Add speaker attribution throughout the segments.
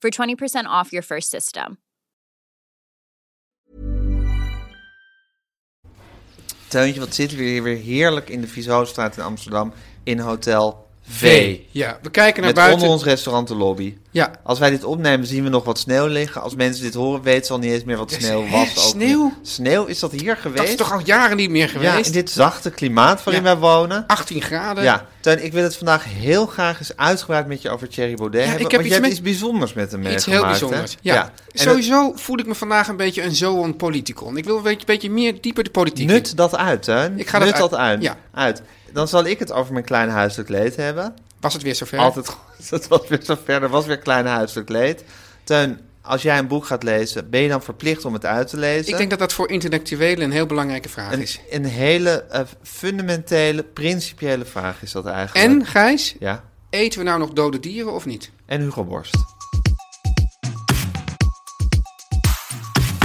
Speaker 1: for 20% off your first system.
Speaker 2: Teuntje, wat zitten we hier weer heerlijk in de Vieshoofdstraat in Amsterdam in Hotel V.
Speaker 3: Ja, we kijken naar
Speaker 2: Met
Speaker 3: buiten.
Speaker 2: onder ons restaurant de lobby.
Speaker 3: Ja.
Speaker 2: Als wij dit opnemen zien we nog wat sneeuw liggen. Als mensen dit horen weten ze al niet eens meer wat
Speaker 3: Dus,
Speaker 2: sneeuw
Speaker 3: hè,
Speaker 2: was. Ook
Speaker 3: sneeuw?
Speaker 2: niet. Sneeuw, is dat hier geweest?
Speaker 3: Dat is toch al jaren niet meer
Speaker 2: Ja,
Speaker 3: geweest?
Speaker 2: in dit zachte klimaat waarin
Speaker 3: Ja.
Speaker 2: wij wonen.
Speaker 3: 18 graden.
Speaker 2: Ja, Teun, ik wil het vandaag heel graag eens uitgebreid met je over Thierry Baudet hebben.
Speaker 3: ik heb
Speaker 2: want
Speaker 3: iets
Speaker 2: je hebt
Speaker 3: met-
Speaker 2: iets bijzonders met hem
Speaker 3: Iets heel
Speaker 2: meegemaakt, hè?
Speaker 3: bijzonders. Ja.
Speaker 2: En
Speaker 3: Sowieso voel ik me vandaag een beetje een zoon politicon. Ik wil een beetje, beetje meer dieper de
Speaker 2: dat-
Speaker 3: politiek in.
Speaker 2: nut dat uit, Teun.
Speaker 3: Ik ga
Speaker 2: nut
Speaker 3: dat uit-
Speaker 2: dat uit.
Speaker 3: ja.
Speaker 2: uit. Dan zal ik het over mijn klein huiselijk leed hebben.
Speaker 3: Was het weer zover?
Speaker 2: Altijd goed. Dat was weer zo ver. Er was weer klein huiselijk leed. Teun, als jij een boek gaat lezen, ben je dan verplicht om het uit te lezen?
Speaker 3: Ik denk dat dat voor intellectuelen een heel belangrijke vraag
Speaker 2: een,
Speaker 3: is.
Speaker 2: een hele eh, fundamentele, principiële vraag is dat eigenlijk.
Speaker 3: En, Gijs,
Speaker 2: Ja.
Speaker 3: eten we nou nog dode dieren of niet?
Speaker 2: En Hugo Borst.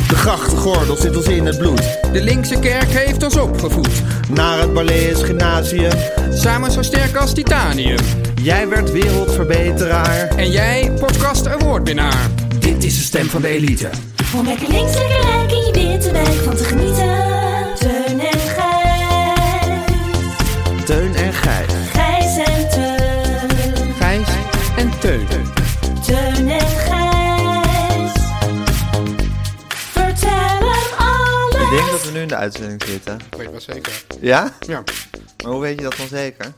Speaker 4: De grachtengordel zit ons in het bloed.
Speaker 3: De linkse kerk heeft ons opgevoed.
Speaker 4: Naar het Balees Gymnasium.
Speaker 3: Samen zo sterk als titanium.
Speaker 4: Jij werd wereldverbeteraar.
Speaker 3: En jij, podcast awardwinnaar.
Speaker 4: Dit is de stem van de elite.
Speaker 5: Om lekker links, lekker rechts in je witte wijk van te genieten. Teun en Gijs.
Speaker 4: Teun en Gijs.
Speaker 5: Gijs en Teun.
Speaker 3: Gijs en Teun.
Speaker 5: Teun en Gijs. Vertel hem
Speaker 2: Ik denk dat
Speaker 5: alles.
Speaker 2: we nu in de uitzending zitten.
Speaker 3: Ik weet wel zeker.
Speaker 2: Ja?
Speaker 3: Ja,
Speaker 2: Maar hoe weet je dat dan zeker?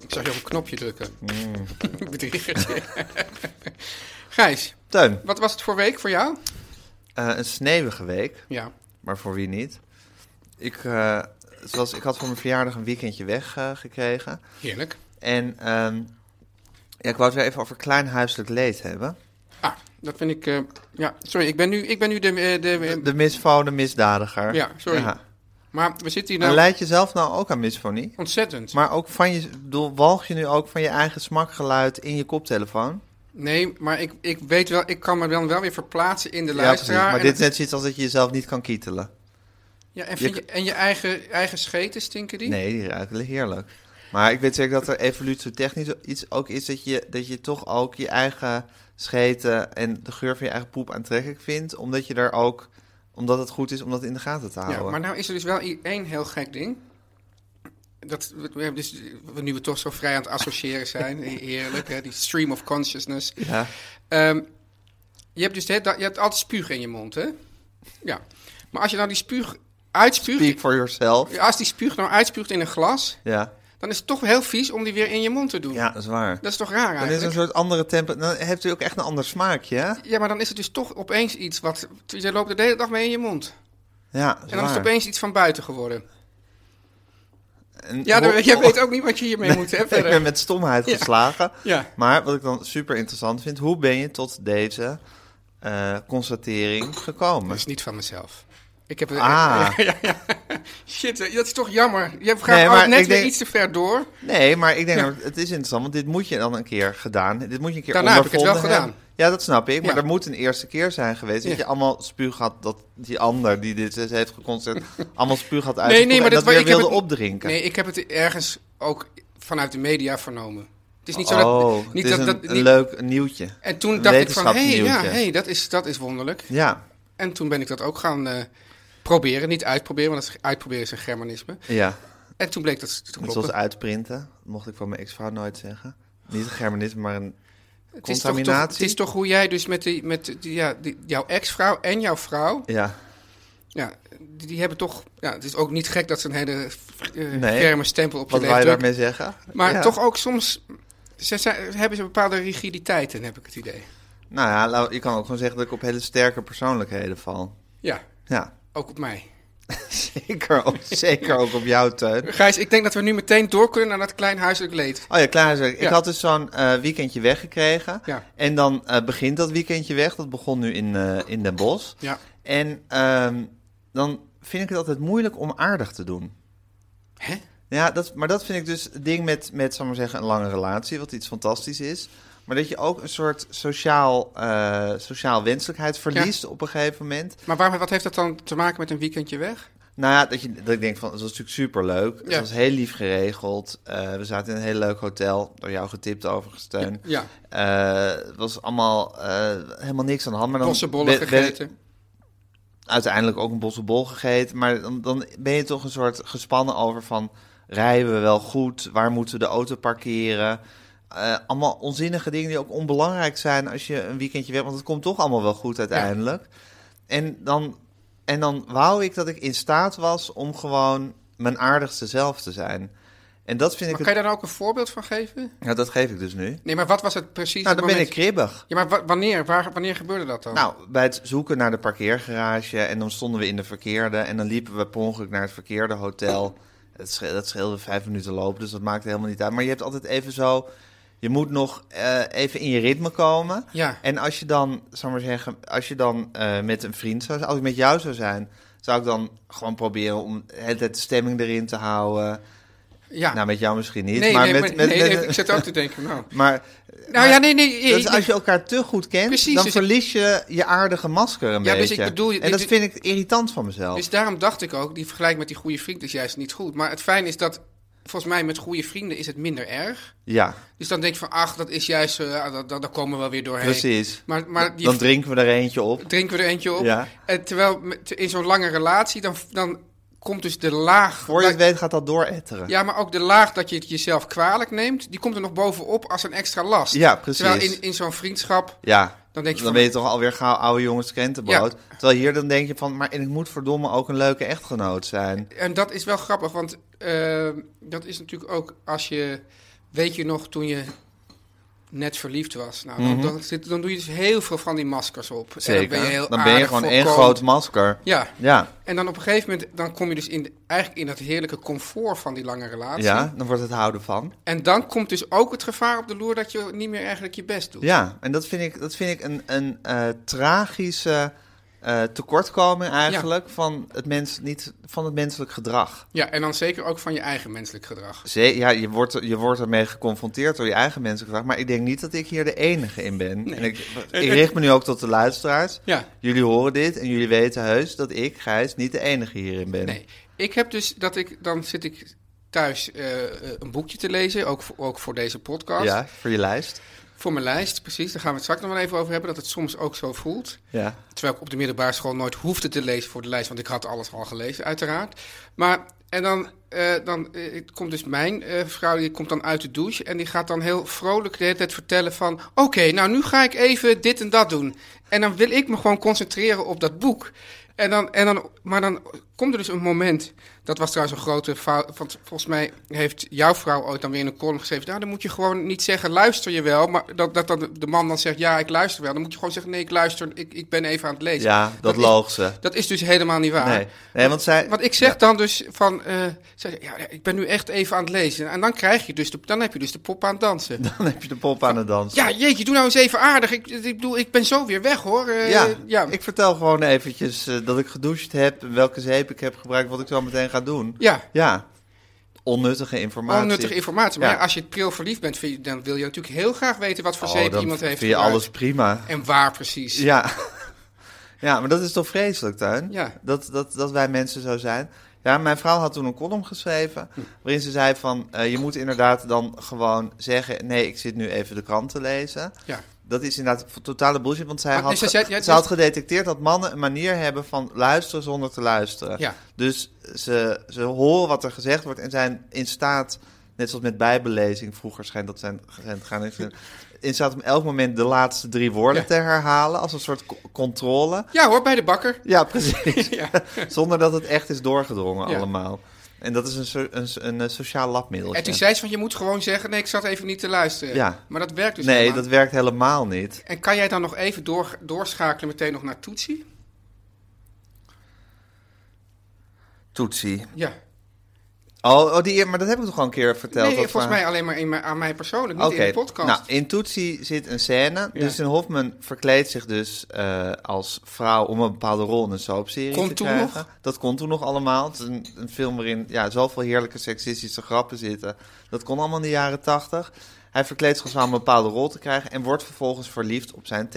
Speaker 3: ik zag je op een knopje drukken.
Speaker 2: Mm.
Speaker 3: Ik bedrieg het. Gijs,
Speaker 2: Teun,
Speaker 3: wat was het voor week voor jou?
Speaker 2: eh, een sneeuwige week,
Speaker 3: Ja.
Speaker 2: maar voor wie niet? Ik, eh, zoals, ik had voor mijn verjaardag een weekendje weggekregen.
Speaker 3: Heerlijk.
Speaker 2: en ehm, ja, ik wou het weer even over klein huiselijk leed hebben.
Speaker 3: Ah, dat vind ik... eh, ja, sorry, ik ben nu, ik ben nu de, eh, de, eh,
Speaker 2: De misfoon, de misdadiger.
Speaker 3: Ja, sorry. Nou- Maar we zitten hier
Speaker 2: En
Speaker 3: nou
Speaker 2: leid je zelf nou ook aan misfonie?
Speaker 3: ontzettend.
Speaker 2: Maar ook van je, ik bedoel, walg je nu ook van je eigen smakgeluid in je koptelefoon?
Speaker 3: Nee, maar ik, ik weet wel... Ik kan me dan wel weer verplaatsen in de
Speaker 2: Ja, precies.
Speaker 3: luisteraar.
Speaker 2: Maar
Speaker 3: en,
Speaker 2: dit is net zoiets als dat je jezelf niet kan kietelen.
Speaker 3: ja, en, vind
Speaker 2: je-
Speaker 3: je, en je eigen, eigen scheten stinken die?
Speaker 2: Nee, die ruiken heerlijk. Maar ik weet zeker dat er evolutietechnisch iets ook is dat je, dat je toch ook je eigen scheten en de geur van je eigen poep aantrekkelijk vindt. Omdat je daar ook, omdat het goed is om dat in de gaten te
Speaker 3: Ja,
Speaker 2: houden.
Speaker 3: maar nou is er dus wel i- één heel gek ding. Dat, we- we- dus, we- nu we toch zo vrij aan het associëren zijn, he- heerlijk, hè, die stream of consciousness.
Speaker 2: Ja.
Speaker 3: Ehm, je hebt dus hè, dat- je hebt altijd spuug in je mond, hè? Ja. Maar als je nou die spuug
Speaker 2: Speak
Speaker 3: uitspuugt,
Speaker 2: for yourself.
Speaker 3: als die spuug nou uitspuugt in een glas,
Speaker 2: Ja,
Speaker 3: dan is het toch heel vies om die weer in je mond te doen.
Speaker 2: ja dat is waar.
Speaker 3: Dat is toch raar
Speaker 2: Dan is er een
Speaker 3: eigenlijk?
Speaker 2: soort andere tempo. Dan heeft u ook echt een ander smaakje, hè?
Speaker 3: Ja, maar dan is het dus toch opeens iets wat... Je loopt de hele dag mee in je mond.
Speaker 2: Ja, dat is
Speaker 3: En dan is
Speaker 2: waar.
Speaker 3: het opeens iets van buiten geworden.
Speaker 2: En-
Speaker 3: Ja, dan,
Speaker 2: Ho-
Speaker 3: jij weet ook niet wat je hiermee moet hebben.
Speaker 2: ik ben met stomheid
Speaker 3: Ja.
Speaker 2: geslagen.
Speaker 3: Ja.
Speaker 2: Maar wat ik dan super interessant vind, hoe ben je tot deze eh, constatering gekomen?
Speaker 3: Dat is niet van mezelf. Ik heb
Speaker 2: Ah.
Speaker 3: ja, ja. Shit, hè, dat is toch jammer. Je
Speaker 2: Nee,
Speaker 3: gaat
Speaker 2: maar
Speaker 3: al net
Speaker 2: ik
Speaker 3: weer
Speaker 2: denk- Ah,
Speaker 3: iets te ver door.
Speaker 2: Nee, maar ik denk dat het is interessant, want dit moet je dan een keer gedaan. Dit moet je een keer
Speaker 3: Daarna heb ik het wel
Speaker 2: ondervonden
Speaker 3: gedaan.
Speaker 2: hebben. Ja, dat snap ik. Maar
Speaker 3: Ja.
Speaker 2: er moet een eerste keer zijn geweest dat
Speaker 3: Ja.
Speaker 2: je allemaal spuug had dat die ander die dit heeft geconstateerd, allemaal spuug had uit
Speaker 3: nee, nee, maar
Speaker 2: en dat
Speaker 3: dat,
Speaker 2: weer
Speaker 3: ik heb
Speaker 2: wilde
Speaker 3: het-
Speaker 2: opdrinken.
Speaker 3: Nee, ik heb het ergens ook vanuit de media vernomen. Het is niet zo dat...
Speaker 2: Oh,
Speaker 3: niet
Speaker 2: het is
Speaker 3: dat,
Speaker 2: een,
Speaker 3: dat,
Speaker 2: een
Speaker 3: niet-
Speaker 2: leuk nieuwtje.
Speaker 3: En toen
Speaker 2: Een
Speaker 3: dacht ik van, hé, hey, ja,
Speaker 2: wetenschapsnieuwtje.
Speaker 3: hey, dat, is, dat is wonderlijk.
Speaker 2: Ja,
Speaker 3: En toen ben ik dat ook gaan eh, proberen. Niet uitproberen, want dat is- uitproberen is een germanisme.
Speaker 2: ja.
Speaker 3: En toen bleek dat ze te
Speaker 2: Net zoals
Speaker 3: kloppen.
Speaker 2: uitprinten. Dat mocht ik van mijn ex-vrouw nooit zeggen. Niet een germanisme, maar een
Speaker 3: Het is, toch, toch-
Speaker 2: contaminatie.
Speaker 3: het is toch hoe jij dus met, die, met die, ja, die- jouw ex-vrouw en jouw vrouw...
Speaker 2: Ja,
Speaker 3: Ja, die, die hebben toch... Ja, het is ook niet gek dat ze een hele eh
Speaker 2: Nee.
Speaker 3: ferme stempel op je
Speaker 2: wat wou je
Speaker 3: leven drukken.
Speaker 2: daarmee zeggen?
Speaker 3: Maar
Speaker 2: Ja.
Speaker 3: toch ook soms... Ze, zijn- hebben ze bepaalde rigiditeiten, heb ik het idee.
Speaker 2: Nou ja, laat- je kan ook gewoon zeggen dat ik op hele sterke persoonlijkheden val.
Speaker 3: Ja,
Speaker 2: Ja,
Speaker 3: ook op mij.
Speaker 2: zeker ook, zeker ook op jouw teun.
Speaker 3: Gijs, ik denk dat we nu meteen door kunnen naar dat klein huiselijk leed.
Speaker 2: Oh ja, klaar. zeg. Ik
Speaker 3: Ja.
Speaker 2: had dus zo'n eh, weekendje weggekregen.
Speaker 3: Ja.
Speaker 2: En dan eh, begint dat weekendje weg. Dat begon nu in, eh, in Den Bosch.
Speaker 3: Ja.
Speaker 2: En ehm, dan vind ik het altijd moeilijk om aardig te doen.
Speaker 3: Hè?
Speaker 2: Ja, dat, maar dat vind ik dus het ding met, met zal ik maar zeggen, een lange relatie, wat iets fantastisch is. Maar dat je ook een soort sociaal, eh, sociaal wenselijkheid verliest op een gegeven moment.
Speaker 3: Maar waar, wat heeft dat dan te maken met een weekendje weg?
Speaker 2: Nou ja, dat, je, dat ik denk van, het was natuurlijk superleuk. Het
Speaker 3: Ja.
Speaker 2: was heel lief geregeld. Eh, we zaten in een heel leuk hotel, door jou getipt overigens, Teun.
Speaker 3: Ja,
Speaker 2: Eh, het was allemaal eh, helemaal niks aan de hand. Maar dan
Speaker 3: bossenbollen
Speaker 2: ben- ben-
Speaker 3: gegeten.
Speaker 2: uiteindelijk ook een bossenbol gegeten. Maar dan, dan ben je toch een soort gespannen over van... rijden we wel goed? Waar moeten we de auto parkeren? Eh, allemaal onzinnige dingen die ook onbelangrijk zijn als je een weekendje weg... want het komt toch allemaal wel goed uiteindelijk. En, dan, en dan wou ik dat ik in staat was om gewoon mijn aardigste zelf te zijn... En dat vind
Speaker 3: maar
Speaker 2: ik.
Speaker 3: kan je daar nou ook een voorbeeld van geven?
Speaker 2: het- Ja, dat geef ik dus nu.
Speaker 3: Nee, maar wat was het precies?
Speaker 2: Nou, dan ben
Speaker 3: moment-
Speaker 2: ik kribbig.
Speaker 3: Ja, maar wa- wanneer? Waar, wanneer gebeurde dat dan?
Speaker 2: Nou, bij het zoeken naar de parkeergarage en dan stonden we in de verkeerde en dan liepen we per ongeluk naar het verkeerde hotel. Dat, sche- dat scheelde vijf minuten lopen, dus dat maakte helemaal niet uit. Maar je hebt altijd even zo, je moet nog eh, even in je ritme komen.
Speaker 3: Ja.
Speaker 2: En als je dan, zou ik maar zeggen, als je dan eh, met een vriend zou als ik met jou zou zijn, zou ik dan gewoon proberen om de hele tijd de stemming erin te houden.
Speaker 3: ja.
Speaker 2: Nou, met jou misschien niet,
Speaker 3: nee,
Speaker 2: maar
Speaker 3: nee,
Speaker 2: met...
Speaker 3: maar-
Speaker 2: met,
Speaker 3: nee,
Speaker 2: met-
Speaker 3: nee, ik zit ook te denken, nou.
Speaker 2: maar
Speaker 3: Nou ja, nee, nee.
Speaker 2: dat is
Speaker 3: ik-
Speaker 2: als je elkaar te goed kent,
Speaker 3: Precies,
Speaker 2: dan
Speaker 3: dus ik-
Speaker 2: verlies je je aardige masker een
Speaker 3: Ja, dus
Speaker 2: beetje.
Speaker 3: ik bedoel-
Speaker 2: en dat
Speaker 3: dit-
Speaker 2: vind ik irritant van mezelf.
Speaker 3: Dus daarom dacht ik ook, die vergelijking met die goede vriend is juist niet goed. Maar het fijne is dat, volgens mij, met goede vrienden is het minder erg.
Speaker 2: Ja,
Speaker 3: Dus dan denk je van, ach, dat is juist, eh, ah, dat, dat, daar komen we wel weer doorheen.
Speaker 2: precies.
Speaker 3: Maar, maar die
Speaker 2: dan drinken we er eentje op.
Speaker 3: drinken we er eentje op.
Speaker 2: Ja.
Speaker 3: En terwijl met- in zo'n lange relatie, dan, dan komt dus de laag...
Speaker 2: Voor je het
Speaker 3: dat-
Speaker 2: weet gaat dat dooretteren.
Speaker 3: ja, maar ook de laag dat je het jezelf kwalijk neemt, die komt er nog bovenop als een extra last.
Speaker 2: Ja, precies.
Speaker 3: Terwijl in, in zo'n vriendschap,
Speaker 2: Ja.
Speaker 3: Dan denk je
Speaker 2: dan
Speaker 3: van-
Speaker 2: ben je toch alweer gauw oude jongens krentenbrood. Terwijl hier dan denk je van, maar en ik moet verdomme ook een leuke echtgenoot zijn.
Speaker 3: en dat is wel grappig, want eh, dat is natuurlijk ook als je, weet je nog toen je net verliefd was. Nou, dan, dan, zit- dan doe je dus heel veel van die maskers op. En
Speaker 2: Mhm. Zeker.
Speaker 3: dan ben je, heel aardig,
Speaker 2: gewoon één
Speaker 3: voorkomend.
Speaker 2: groot masker.
Speaker 3: Ja,
Speaker 2: Ja.
Speaker 3: en dan op een gegeven moment dan kom je dus in de- eigenlijk in dat heerlijke comfort van die lange relatie.
Speaker 2: ja, dan wordt het houden van.
Speaker 3: En dan komt dus ook het gevaar op de loer dat je niet meer eigenlijk je best doet.
Speaker 2: Ja, en dat vind ik, dat vind ik een, een eh, tragische eh, tekortkoming eigenlijk van, het mens, niet, van het menselijk gedrag.
Speaker 3: Ja, en dan zeker ook van je eigen menselijk gedrag.
Speaker 2: Ze- ja, je wordt, er- je wordt ermee geconfronteerd door je eigen menselijk gedrag, maar ik denk niet dat ik hier de enige in ben. En ik, ik richt me nu ook tot de luisteraars.
Speaker 3: Ja.
Speaker 2: Jullie horen dit en jullie weten heus dat ik, Gijs, niet de enige hierin ben.
Speaker 3: Nee, ik heb dus dat ik, dan zit ik thuis eh, eh, een boekje te lezen, ook voor, ook voor deze podcast.
Speaker 2: Ja, voor je lijst.
Speaker 3: Voor mijn lijst, precies, daar gaan we het straks nog wel even over hebben, dat het soms ook zo voelt.
Speaker 2: Ja.
Speaker 3: Terwijl ik op de middelbare school nooit hoefde te lezen voor de lijst, want ik had alles al gelezen, uiteraard. Maar, en dan, eh, dan eh, het komt dus mijn eh, vrouw, die komt dan uit de douche en die gaat dan heel vrolijk de hele tijd vertellen van... Oké, nou nu ga ik even dit en dat doen. En dan wil ik me gewoon concentreren op dat boek. En dan, en dan, maar dan komt er dus een moment, dat was trouwens een grote fout, want volgens mij heeft jouw vrouw ooit dan weer in een column geschreven, nou dan moet je gewoon niet zeggen luister je wel, maar dat, dat dan de man dan zegt ja ik luister wel, dan moet je gewoon zeggen nee ik luister, ik, ik ben even aan het lezen.
Speaker 2: Ja, dat,
Speaker 3: is-
Speaker 2: loog ze.
Speaker 3: dat is dus helemaal niet waar.
Speaker 2: Nee. nee, want zij...
Speaker 3: Want ik zeg dan dus van, eh, zeg, ja, ik ben nu echt even aan het lezen. En dan krijg je dus, de, dan heb je dus de pop aan het dansen.
Speaker 2: Dan heb je de pop aan het dansen.
Speaker 3: Ja, jeetje, doe nou eens even aardig. Ik, ik bedoel, ik ben zo weer weg hoor. Eh,
Speaker 2: ja,
Speaker 3: ja.
Speaker 2: ik vertel gewoon eventjes eh, dat ik gedoucht heb, welke zeep ik heb gebruikt, wat ik zo meteen ga doen.
Speaker 3: ja.
Speaker 2: Ja, onnuttige informatie.
Speaker 3: Onnuttige informatie. Maar
Speaker 2: Ja.
Speaker 3: ja, als je pril verliefd bent, vind je- dan wil je natuurlijk heel graag weten wat voor
Speaker 2: Oh,
Speaker 3: zeep
Speaker 2: dan
Speaker 3: iemand heeft
Speaker 2: vind je
Speaker 3: gebruikt.
Speaker 2: alles prima.
Speaker 3: En waar precies.
Speaker 2: Ja. ja, maar dat is toch vreselijk, Tuin?
Speaker 3: Ja.
Speaker 2: Dat, dat, dat wij mensen zo zijn. Ja, mijn vrouw had toen een column geschreven.
Speaker 3: Hm.
Speaker 2: Waarin ze zei van, eh, je moet inderdaad dan gewoon zeggen... nee, ik zit nu even de krant te lezen.
Speaker 3: Ja.
Speaker 2: Dat is inderdaad v- totale bullshit. Want zij,
Speaker 3: Maar
Speaker 2: had,
Speaker 3: dus
Speaker 2: ge-
Speaker 3: jij- jij-
Speaker 2: ze had gedetecteerd dat mannen een manier hebben van luisteren zonder te luisteren.
Speaker 3: Ja.
Speaker 2: Dus ze, ze horen wat er gezegd wordt en zijn in staat... net zoals met bijbelezing vroeger schijnt dat zijn, zijn gaan... in- in staat om elk moment de laatste drie woorden
Speaker 3: Ja.
Speaker 2: te herhalen... als een soort co- controle.
Speaker 3: Ja hoor, bij de bakker.
Speaker 2: Ja, precies.
Speaker 3: Ja.
Speaker 2: Zonder dat het echt is doorgedrongen
Speaker 3: Ja.
Speaker 2: allemaal. En dat is een, so- een, so- een, eh, sociaal labmiddel.
Speaker 3: En toen zei ze van, je moet gewoon zeggen, nee, ik zat even niet te luisteren.
Speaker 2: Ja.
Speaker 3: Maar dat werkt dus
Speaker 2: nee,
Speaker 3: helemaal
Speaker 2: dat werkt helemaal niet.
Speaker 3: En kan jij dan nog even door, doorschakelen meteen nog naar Toetsie?
Speaker 2: Toetsie.
Speaker 3: Ja.
Speaker 2: Oh, oh die, maar dat heb ik toch al een keer verteld?
Speaker 3: Nee,
Speaker 2: dat
Speaker 3: volgens
Speaker 2: verhaal?
Speaker 3: mij alleen maar in mijn- aan mij persoonlijk, niet
Speaker 2: Oké,
Speaker 3: in de podcast.
Speaker 2: Nou, in Tootsie zit een scène.
Speaker 3: Ja.
Speaker 2: Dus een Hofman verkleedt zich dus eh, als vrouw om een bepaalde rol in een soapserie
Speaker 3: Komt
Speaker 2: te
Speaker 3: toen
Speaker 2: krijgen.
Speaker 3: nog?
Speaker 2: Dat kon toen nog allemaal. Het is een, een film waarin ja, zoveel heerlijke seksistische grappen zitten. Dat kon allemaal in de jaren tachtig. Hij verkleedt zich als vrouw om een bepaalde rol te krijgen en wordt vervolgens verliefd op zijn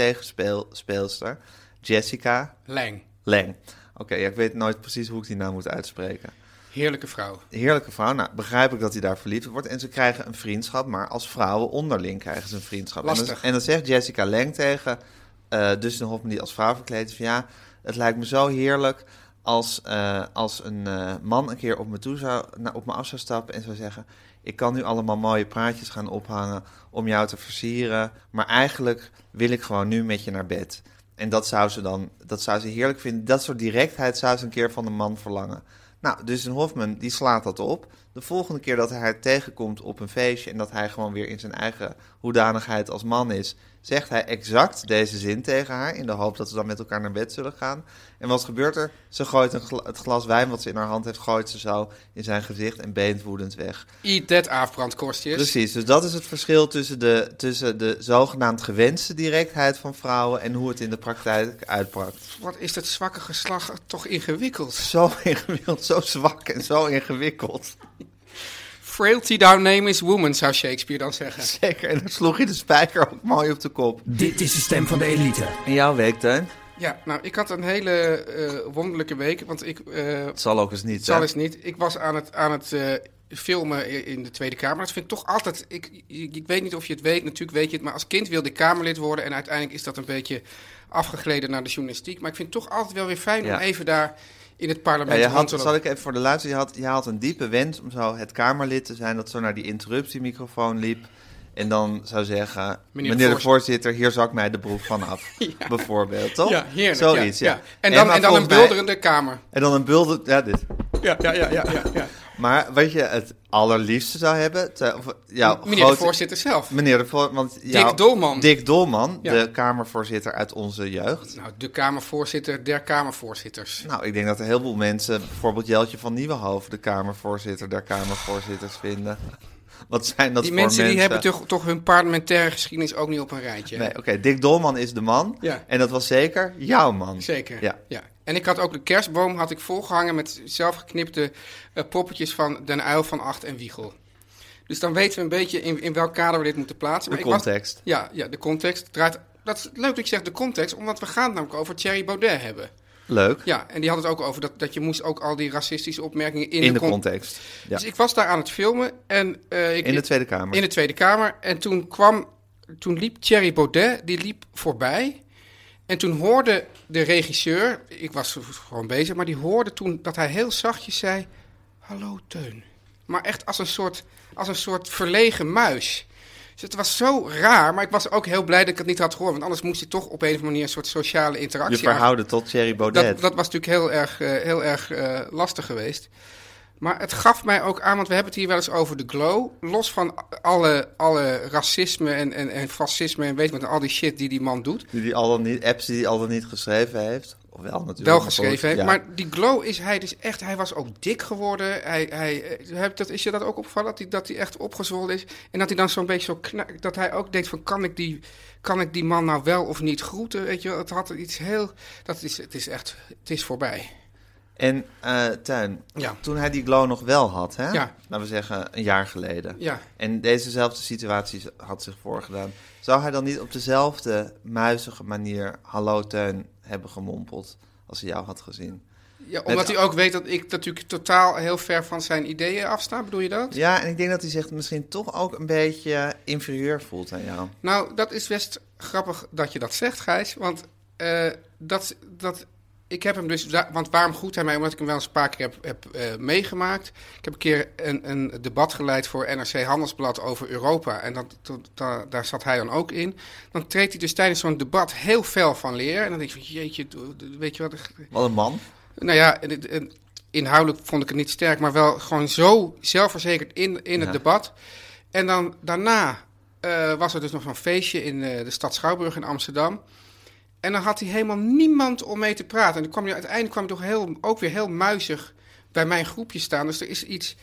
Speaker 2: tegenspeelster, Jessica
Speaker 3: Lijn,
Speaker 2: Lang. Oké, ja, ik weet nooit precies hoe ik die naam moet uitspreken
Speaker 3: heerlijke vrouw.
Speaker 2: heerlijke vrouw. Nou, begrijp ik dat hij daar verliefd op wordt. En ze krijgen een vriendschap, maar als vrouwen onderling krijgen ze een vriendschap. En dan,
Speaker 3: Lastig.
Speaker 2: en dan zegt Jessica Lang tegen eh Dustin Hoffman, die als vrouw verkleed is, van ja, het lijkt me zo heerlijk als, eh, als een eh, man een keer op me, toe zou, nou, op me af zou stappen en zou zeggen, ik kan nu allemaal mooie praatjes gaan ophangen om jou te versieren, maar eigenlijk wil ik gewoon nu met je naar bed. En dat zou ze dan, dat zou ze heerlijk vinden. Dat soort directheid zou ze een keer van een man verlangen. Nou, dus een Hofman die slaat dat op. De volgende keer dat hij haar tegenkomt op een feestje en dat hij gewoon weer in zijn eigen hoedanigheid als man is, zegt hij exact deze zin tegen haar in de hoop dat ze dan met elkaar naar bed zullen gaan. En wat gebeurt er? Ze gooit een gla- het glas wijn wat ze in haar hand heeft, gooit ze zo in zijn gezicht en beent woedend weg.
Speaker 3: Eat that, afbrandkorstjes.
Speaker 2: Precies, dus dat is het verschil tussen de, tussen de zogenaamd gewenste directheid van vrouwen en hoe het in de praktijk uitpakt.
Speaker 3: Wat is dat zwakke geslag toch ingewikkeld.
Speaker 2: Zo ingewikkeld, zo zwak en zo ingewikkeld.
Speaker 3: Frailty thou name is woman, zou Shakespeare dan zeggen.
Speaker 2: Zeker, en dan sloeg je de spijker ook mooi op de kop.
Speaker 4: Dit is de stem van de elite.
Speaker 2: En jouw week, Teun?
Speaker 3: Ja, nou, ik had een hele eh, wonderlijke week, want ik... eh,
Speaker 2: Het zal ook eens niet,
Speaker 3: zal eens niet. Ik was aan het, aan het eh, filmen i- in de Tweede Kamer. Dat vind ik toch altijd... Ik, ik, ik weet niet of je het weet, natuurlijk weet je het. Maar als kind wilde ik Kamerlid worden. En uiteindelijk is dat een beetje afgegleden naar de journalistiek. Maar ik vind het toch altijd wel weer fijn
Speaker 2: Ja.
Speaker 3: om even daar in het
Speaker 2: Ja,
Speaker 3: parlement
Speaker 2: je
Speaker 3: rond
Speaker 2: had,
Speaker 3: te
Speaker 2: zal
Speaker 3: lopen.
Speaker 2: ik even voor de luisteraar, je had, je had een diepe wens om zo het Kamerlid te zijn... dat zo naar die interruptiemicrofoon liep en dan zou zeggen... meneer, de
Speaker 3: voorzitter."
Speaker 2: voorzitter, hier zak mij de broek van af, bijvoorbeeld, toch?
Speaker 3: Ja, heerlijk.
Speaker 2: Zoiets, ja.
Speaker 3: En dan,
Speaker 2: maar
Speaker 3: en dan een
Speaker 2: volgens mij-
Speaker 3: bulderende kamer.
Speaker 2: En dan een bulder... Ja, dit.
Speaker 3: Ja, ja, ja, ja. ja, ja.
Speaker 2: Maar wat je het allerliefste zou hebben... Te, of, jouw
Speaker 3: Meneer de
Speaker 2: grote-
Speaker 3: voorzitter zelf.
Speaker 2: Meneer de voorzitter, want... jouw-
Speaker 3: Dolman.
Speaker 2: Dick Dolman,
Speaker 3: Ja.
Speaker 2: de Kamervoorzitter uit onze jeugd.
Speaker 3: Nou, de Kamervoorzitter der Kamervoorzitters.
Speaker 2: Nou, ik denk dat een heleboel mensen bijvoorbeeld Jeltje van Nieuwenhoven, de Kamervoorzitter der Kamervoorzitters, vinden. Wat zijn dat
Speaker 3: Die
Speaker 2: voor
Speaker 3: mensen,
Speaker 2: mensen?
Speaker 3: die hebben toch, toch hun parlementaire geschiedenis ook niet op een rijtje.
Speaker 2: Nee, oké, Dick Dolman is de man.
Speaker 3: Ja.
Speaker 2: En dat was zeker jouw man.
Speaker 3: Zeker.
Speaker 2: Ja.
Speaker 3: Ja. En ik had ook de kerstboom had ik volgehangen met zelfgeknipte eh, poppetjes van Den Uil van Acht en Wiegel. Dus dan weten we een beetje in, in welk kader we dit moeten plaatsen.
Speaker 2: De
Speaker 3: ik was-
Speaker 2: context.
Speaker 3: ja, ja, de context. Draait, dat is leuk dat je zegt de context, omdat we gaan het namelijk over Thierry Baudet hebben.
Speaker 2: Leuk.
Speaker 3: Ja, en die had het ook over dat, dat je moest ook al die racistische opmerkingen in,
Speaker 2: in, de
Speaker 3: con-
Speaker 2: context. Ja.
Speaker 3: Dus ik was daar aan het filmen en eh, ik,
Speaker 2: in de Tweede Kamer.
Speaker 3: in de Tweede Kamer. En toen kwam, toen liep Thierry Baudet, die liep voorbij. En toen hoorde de regisseur, ik was gewoon bezig, maar die hoorde toen dat hij heel zachtjes zei: Hallo Teun. Maar echt als een soort, als een soort verlegen muis. Dus het was zo raar, maar ik was ook heel blij dat ik het niet had gehoord. Want anders moest je toch op een of andere manier een soort sociale interactie
Speaker 2: Je verhouden tot Thierry Baudet.
Speaker 3: dat, dat was natuurlijk heel erg, eh, heel erg eh, lastig geweest. Maar het gaf mij ook aan, want we hebben het hier wel eens over de glow. Los van alle, alle racisme en, en, en fascisme en weet ik wat, en al die shit die die man doet.
Speaker 2: Die, die al dan niet, apps die hij al dan niet geschreven heeft. Of wel natuurlijk.
Speaker 3: Wel
Speaker 2: maar
Speaker 3: geschreven heeft.
Speaker 2: ja.
Speaker 3: Maar die glow is hij dus echt. Hij was ook dik geworden. Hij, hij, eh, heb- dat, is je dat ook opgevallen? Dat hij, dat hij echt opgezwollen is. En dat hij dan zo'n beetje zo knak. Dat hij ook denkt: van, kan, ik die, kan ik die man nou wel of niet groeten? Weet je, wel? het had iets heel. Dat is, het is echt. Het is voorbij.
Speaker 2: En eh Tuin,
Speaker 3: Ja.
Speaker 2: toen hij die glow nog wel had, hè?
Speaker 3: Ja.
Speaker 2: laten we zeggen een jaar geleden.
Speaker 3: Ja.
Speaker 2: En dezezelfde situatie had zich voorgedaan. Zou hij dan niet op dezelfde muizige manier Hallo Tuin hebben gemompeld als hij jou had gezien?
Speaker 3: Ja, omdat
Speaker 2: Met-
Speaker 3: hij ook weet dat ik natuurlijk totaal heel ver van zijn ideeën afsta, bedoel je dat?
Speaker 2: Ja, en ik denk dat hij zich misschien toch ook een beetje inferieur voelt aan jou.
Speaker 3: Nou, dat is best grappig dat je dat zegt, Gijs. Want eh, dat, dat, ik heb hem dus. da- Want waarom goed hij mij? Omdat ik hem wel eens een paar keer heb, heb eh, meegemaakt. Ik heb een keer een, een debat geleid voor NRC Handelsblad over Europa. En dat, dat- da- daar zat hij dan ook in. Dan treedt hij dus tijdens zo'n debat heel fel van leer. En dan denk je van, jeetje, do- do- weet je wat,
Speaker 2: Wat een man.
Speaker 3: Nou ja, en het- en inhoudelijk vond ik het niet sterk, maar wel gewoon zo zelfverzekerd in, in het
Speaker 2: Ja.
Speaker 3: debat. En dan daarna eh, was er dus nog zo'n feestje in eh, de stad Schouwburg in Amsterdam. En dan had hij helemaal niemand om mee te praten. En dan kwam je, uiteindelijk kwam je toch heel, ook weer heel muizig bij mijn groepje staan. Dus er is iets.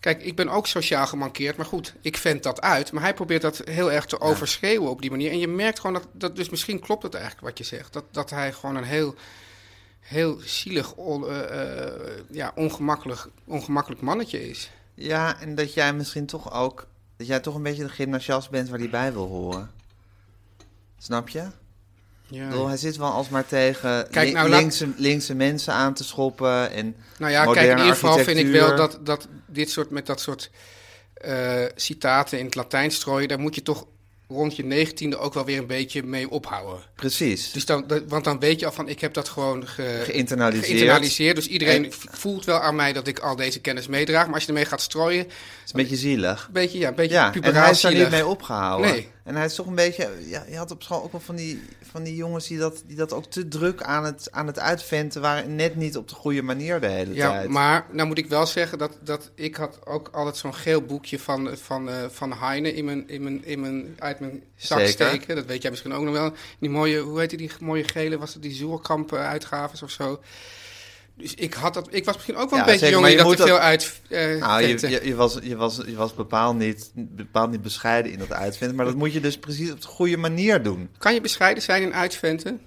Speaker 3: Kijk, ik ben ook sociaal gemankeerd, maar goed, ik vent dat uit. Maar hij probeert dat heel erg te overschreeuwen op die manier. En je merkt gewoon dat, dat dus misschien klopt het eigenlijk wat je zegt. Dat, dat hij gewoon een heel heel zielig, on- eh, eh, ja, ongemakkelijk, ongemakkelijk mannetje is.
Speaker 2: Ja, en dat jij misschien toch ook... Dat jij toch een beetje de gymnasiast bent waar hij bij wil horen. Snap je? Ik bedoel, hij zit wel alsmaar tegen
Speaker 3: Kijk,
Speaker 2: lin-
Speaker 3: nou, laat-
Speaker 2: linkse, linkse mensen aan te schoppen. En
Speaker 3: Nou ja, kijk,
Speaker 2: moderne
Speaker 3: in ieder geval vind ik wel
Speaker 2: architectuur.
Speaker 3: dat, dat dit soort, met dat soort eh, citaten in het Latijn strooien, daar moet je toch rond je negentiende ook wel weer een beetje mee ophouden.
Speaker 2: Precies.
Speaker 3: Dus dan, dat- want dan weet je al van, ik heb dat gewoon ge-
Speaker 2: Geïnternaliseerd.
Speaker 3: geïnternaliseerd. Dus iedereen
Speaker 2: En-
Speaker 3: v- voelt wel aan mij dat ik al deze kennis meedraag. Maar als je ermee gaat strooien,
Speaker 2: Het is een beetje zielig.
Speaker 3: een beetje, ja, een beetje
Speaker 2: Ja, en hij
Speaker 3: puberaal
Speaker 2: is daar
Speaker 3: zielig.
Speaker 2: niet mee opgehouden.
Speaker 3: Nee.
Speaker 2: En hij is toch een beetje... Ja, je had op school ook wel van die, van die jongens die dat, die dat ook te druk aan het, aan het uitventen waren. en Net niet op de goede manier de hele
Speaker 3: Ja,
Speaker 2: tijd.
Speaker 3: maar nou moet ik wel zeggen dat, dat ik had ook altijd zo'n geel boekje van, eh, van, eh, van Heine in mijn, in mijn, in mijn, uit mijn zak
Speaker 2: Zeker.
Speaker 3: steken. Dat weet jij misschien ook nog wel. Die mooie, hoe heette die mooie gele, was het die Zoerkamp eh, uitgaves of zo. Dus ik, had dat, ik was misschien ook wel een
Speaker 2: Ja,
Speaker 3: beetje
Speaker 2: zeker,
Speaker 3: jong die
Speaker 2: maar
Speaker 3: dat
Speaker 2: je
Speaker 3: te
Speaker 2: moet
Speaker 3: veel
Speaker 2: dat-
Speaker 3: uit eh,
Speaker 2: Nou, je,
Speaker 3: vette.
Speaker 2: je, je was, je, was, je was bepaald niet, bepaald niet bescheiden in dat uitvinden. Maar dat moet je dus precies op de goede manier doen.
Speaker 3: Kan je bescheiden zijn in uitventen?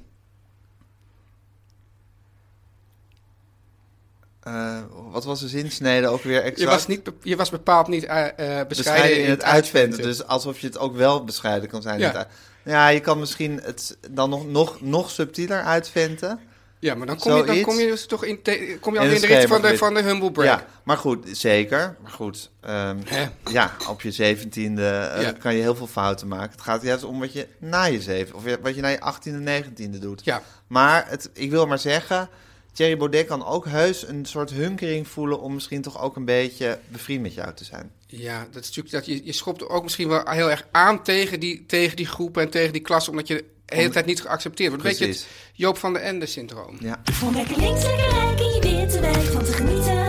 Speaker 2: Eh, wat was de zinsnede ook weer exact?
Speaker 3: Je was, niet, be- je was bepaald niet eh, eh, bescheiden,
Speaker 2: bescheiden in het uitvinden.
Speaker 3: uitventen.
Speaker 2: Dus alsof je het ook wel bescheiden kan zijn. in
Speaker 3: Ja.
Speaker 2: het uit- ja, je kan misschien het dan nog, nog, nog subtieler uitventen.
Speaker 3: Ja, maar dan kom, je, dan
Speaker 2: Zoiets.
Speaker 3: kom je dus toch in, te- kom je
Speaker 2: In
Speaker 3: al in
Speaker 2: het
Speaker 3: de richting van de,
Speaker 2: schema
Speaker 3: van de humble break.
Speaker 2: Ja, maar goed, zeker. Maar goed, ehm,
Speaker 3: Hè?
Speaker 2: ja, op je zeventiende eh,
Speaker 3: Ja.
Speaker 2: kan je heel veel fouten maken. Het gaat juist om wat je na je zeven, of je- wat je na je achttiende, negentiende doet.
Speaker 3: Ja.
Speaker 2: Maar het, ik wil maar zeggen, Thierry Baudet kan ook heus een soort hunkering voelen om misschien toch ook een beetje bevriend met jou te zijn.
Speaker 3: Ja, dat is natuurlijk dat je, je schopt ook misschien wel heel erg aan tegen die, tegen die groepen en tegen die klas, omdat je de hele tijd niet geaccepteerd wordt. Weet je, het
Speaker 2: Precies.
Speaker 3: Joop van den Ende-syndroom.
Speaker 2: Ja.
Speaker 5: Om lekker links, lekker rijk in je witte wijk van te genieten.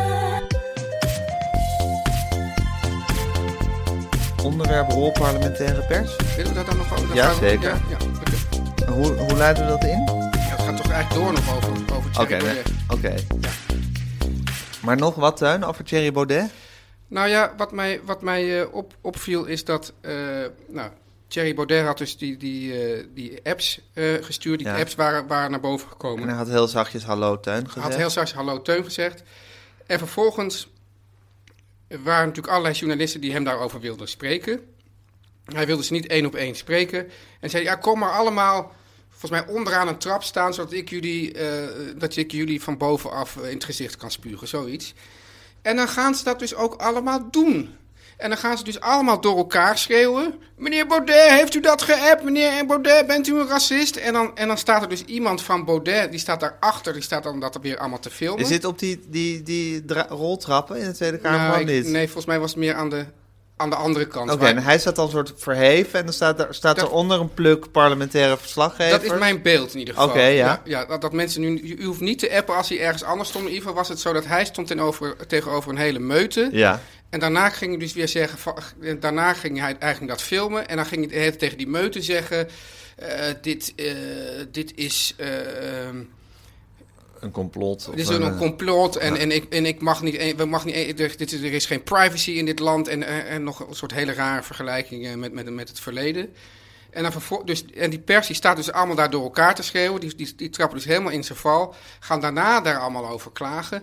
Speaker 2: Onderwerp rol parlementaire pers.
Speaker 3: Willen we dat dan nog over? dat
Speaker 2: Ja,
Speaker 3: gaan we-
Speaker 2: zeker.
Speaker 3: Ja, ja, oké.
Speaker 2: Hoe, hoe leiden we dat in?
Speaker 3: Ja, het gaat toch eigenlijk door nog over, over
Speaker 2: Oké,
Speaker 3: Thierry
Speaker 2: nee.
Speaker 3: Baudet.
Speaker 2: oké. Maar nog wat, Tuin, over Thierry Baudet?
Speaker 3: Nou ja, wat mij, wat mij eh, op, opviel is dat. eh, nou, Thierry Baudet had dus die, die, eh, die apps eh, gestuurd. Die
Speaker 2: Ja.
Speaker 3: apps waren, waren naar boven
Speaker 2: En
Speaker 3: gekomen.
Speaker 2: hij had heel zachtjes hallo Tuin gezegd.
Speaker 3: Had heel straks hallo Teun gezegd. En vervolgens waren natuurlijk allerlei journalisten die hem daarover wilden spreken. Hij wilde ze niet één op één spreken. En zei, ja, kom maar allemaal volgens mij onderaan een trap staan... zodat ik jullie, eh, dat ik jullie van bovenaf eh, in het gezicht kan spugen, zoiets. En dan gaan ze dat dus ook allemaal doen. En dan gaan ze dus allemaal door elkaar schreeuwen. Meneer Baudet, heeft u dat geappt? Meneer Baudet, bent u een racist? En dan, en dan staat er dus iemand van Baudet, die staat daarachter. Die staat dan dat weer allemaal te filmen.
Speaker 2: Is dit op die, die, die dra- roltrappen in de Tweede Kamer?
Speaker 3: Nou,
Speaker 2: Gewoon
Speaker 3: ik-
Speaker 2: niet.
Speaker 3: Nee, volgens mij was het meer aan de, aan de andere kant.
Speaker 2: Oké, en
Speaker 3: Maar
Speaker 2: hij staat dan soort verheven en dan staat, er, staat
Speaker 3: Dat-
Speaker 2: eronder een pluk parlementaire verslaggever.
Speaker 3: dat is mijn beeld in ieder geval.
Speaker 2: Oké, ja.
Speaker 3: ja, dat, dat mensen nu. U hoeft niet te appen als hij ergens anders stond. In ieder geval was het zo dat hij stond tegenover, tegenover een hele meute.
Speaker 2: Ja,
Speaker 3: En daarna ging hij dus weer zeggen. van- en Daarna ging hij eigenlijk dat filmen. En dan ging hij de hele tijd tegen die meute zeggen. eh, dit, eh, dit is. eh, ehm,
Speaker 2: een eh, complot.
Speaker 3: Dit is een, complot en, en, ik, en ik mag niet, een- we mag niet, een- er, dit, is- er is geen privacy in dit land en, eh, en nog een soort hele rare vergelijkingen met, met, met het verleden. En, dan vervol- dus, en die pers die staat dus allemaal daar door elkaar te schreeuwen, die, die, die trappen dus helemaal in zijn val, gaan daarna daar allemaal over klagen.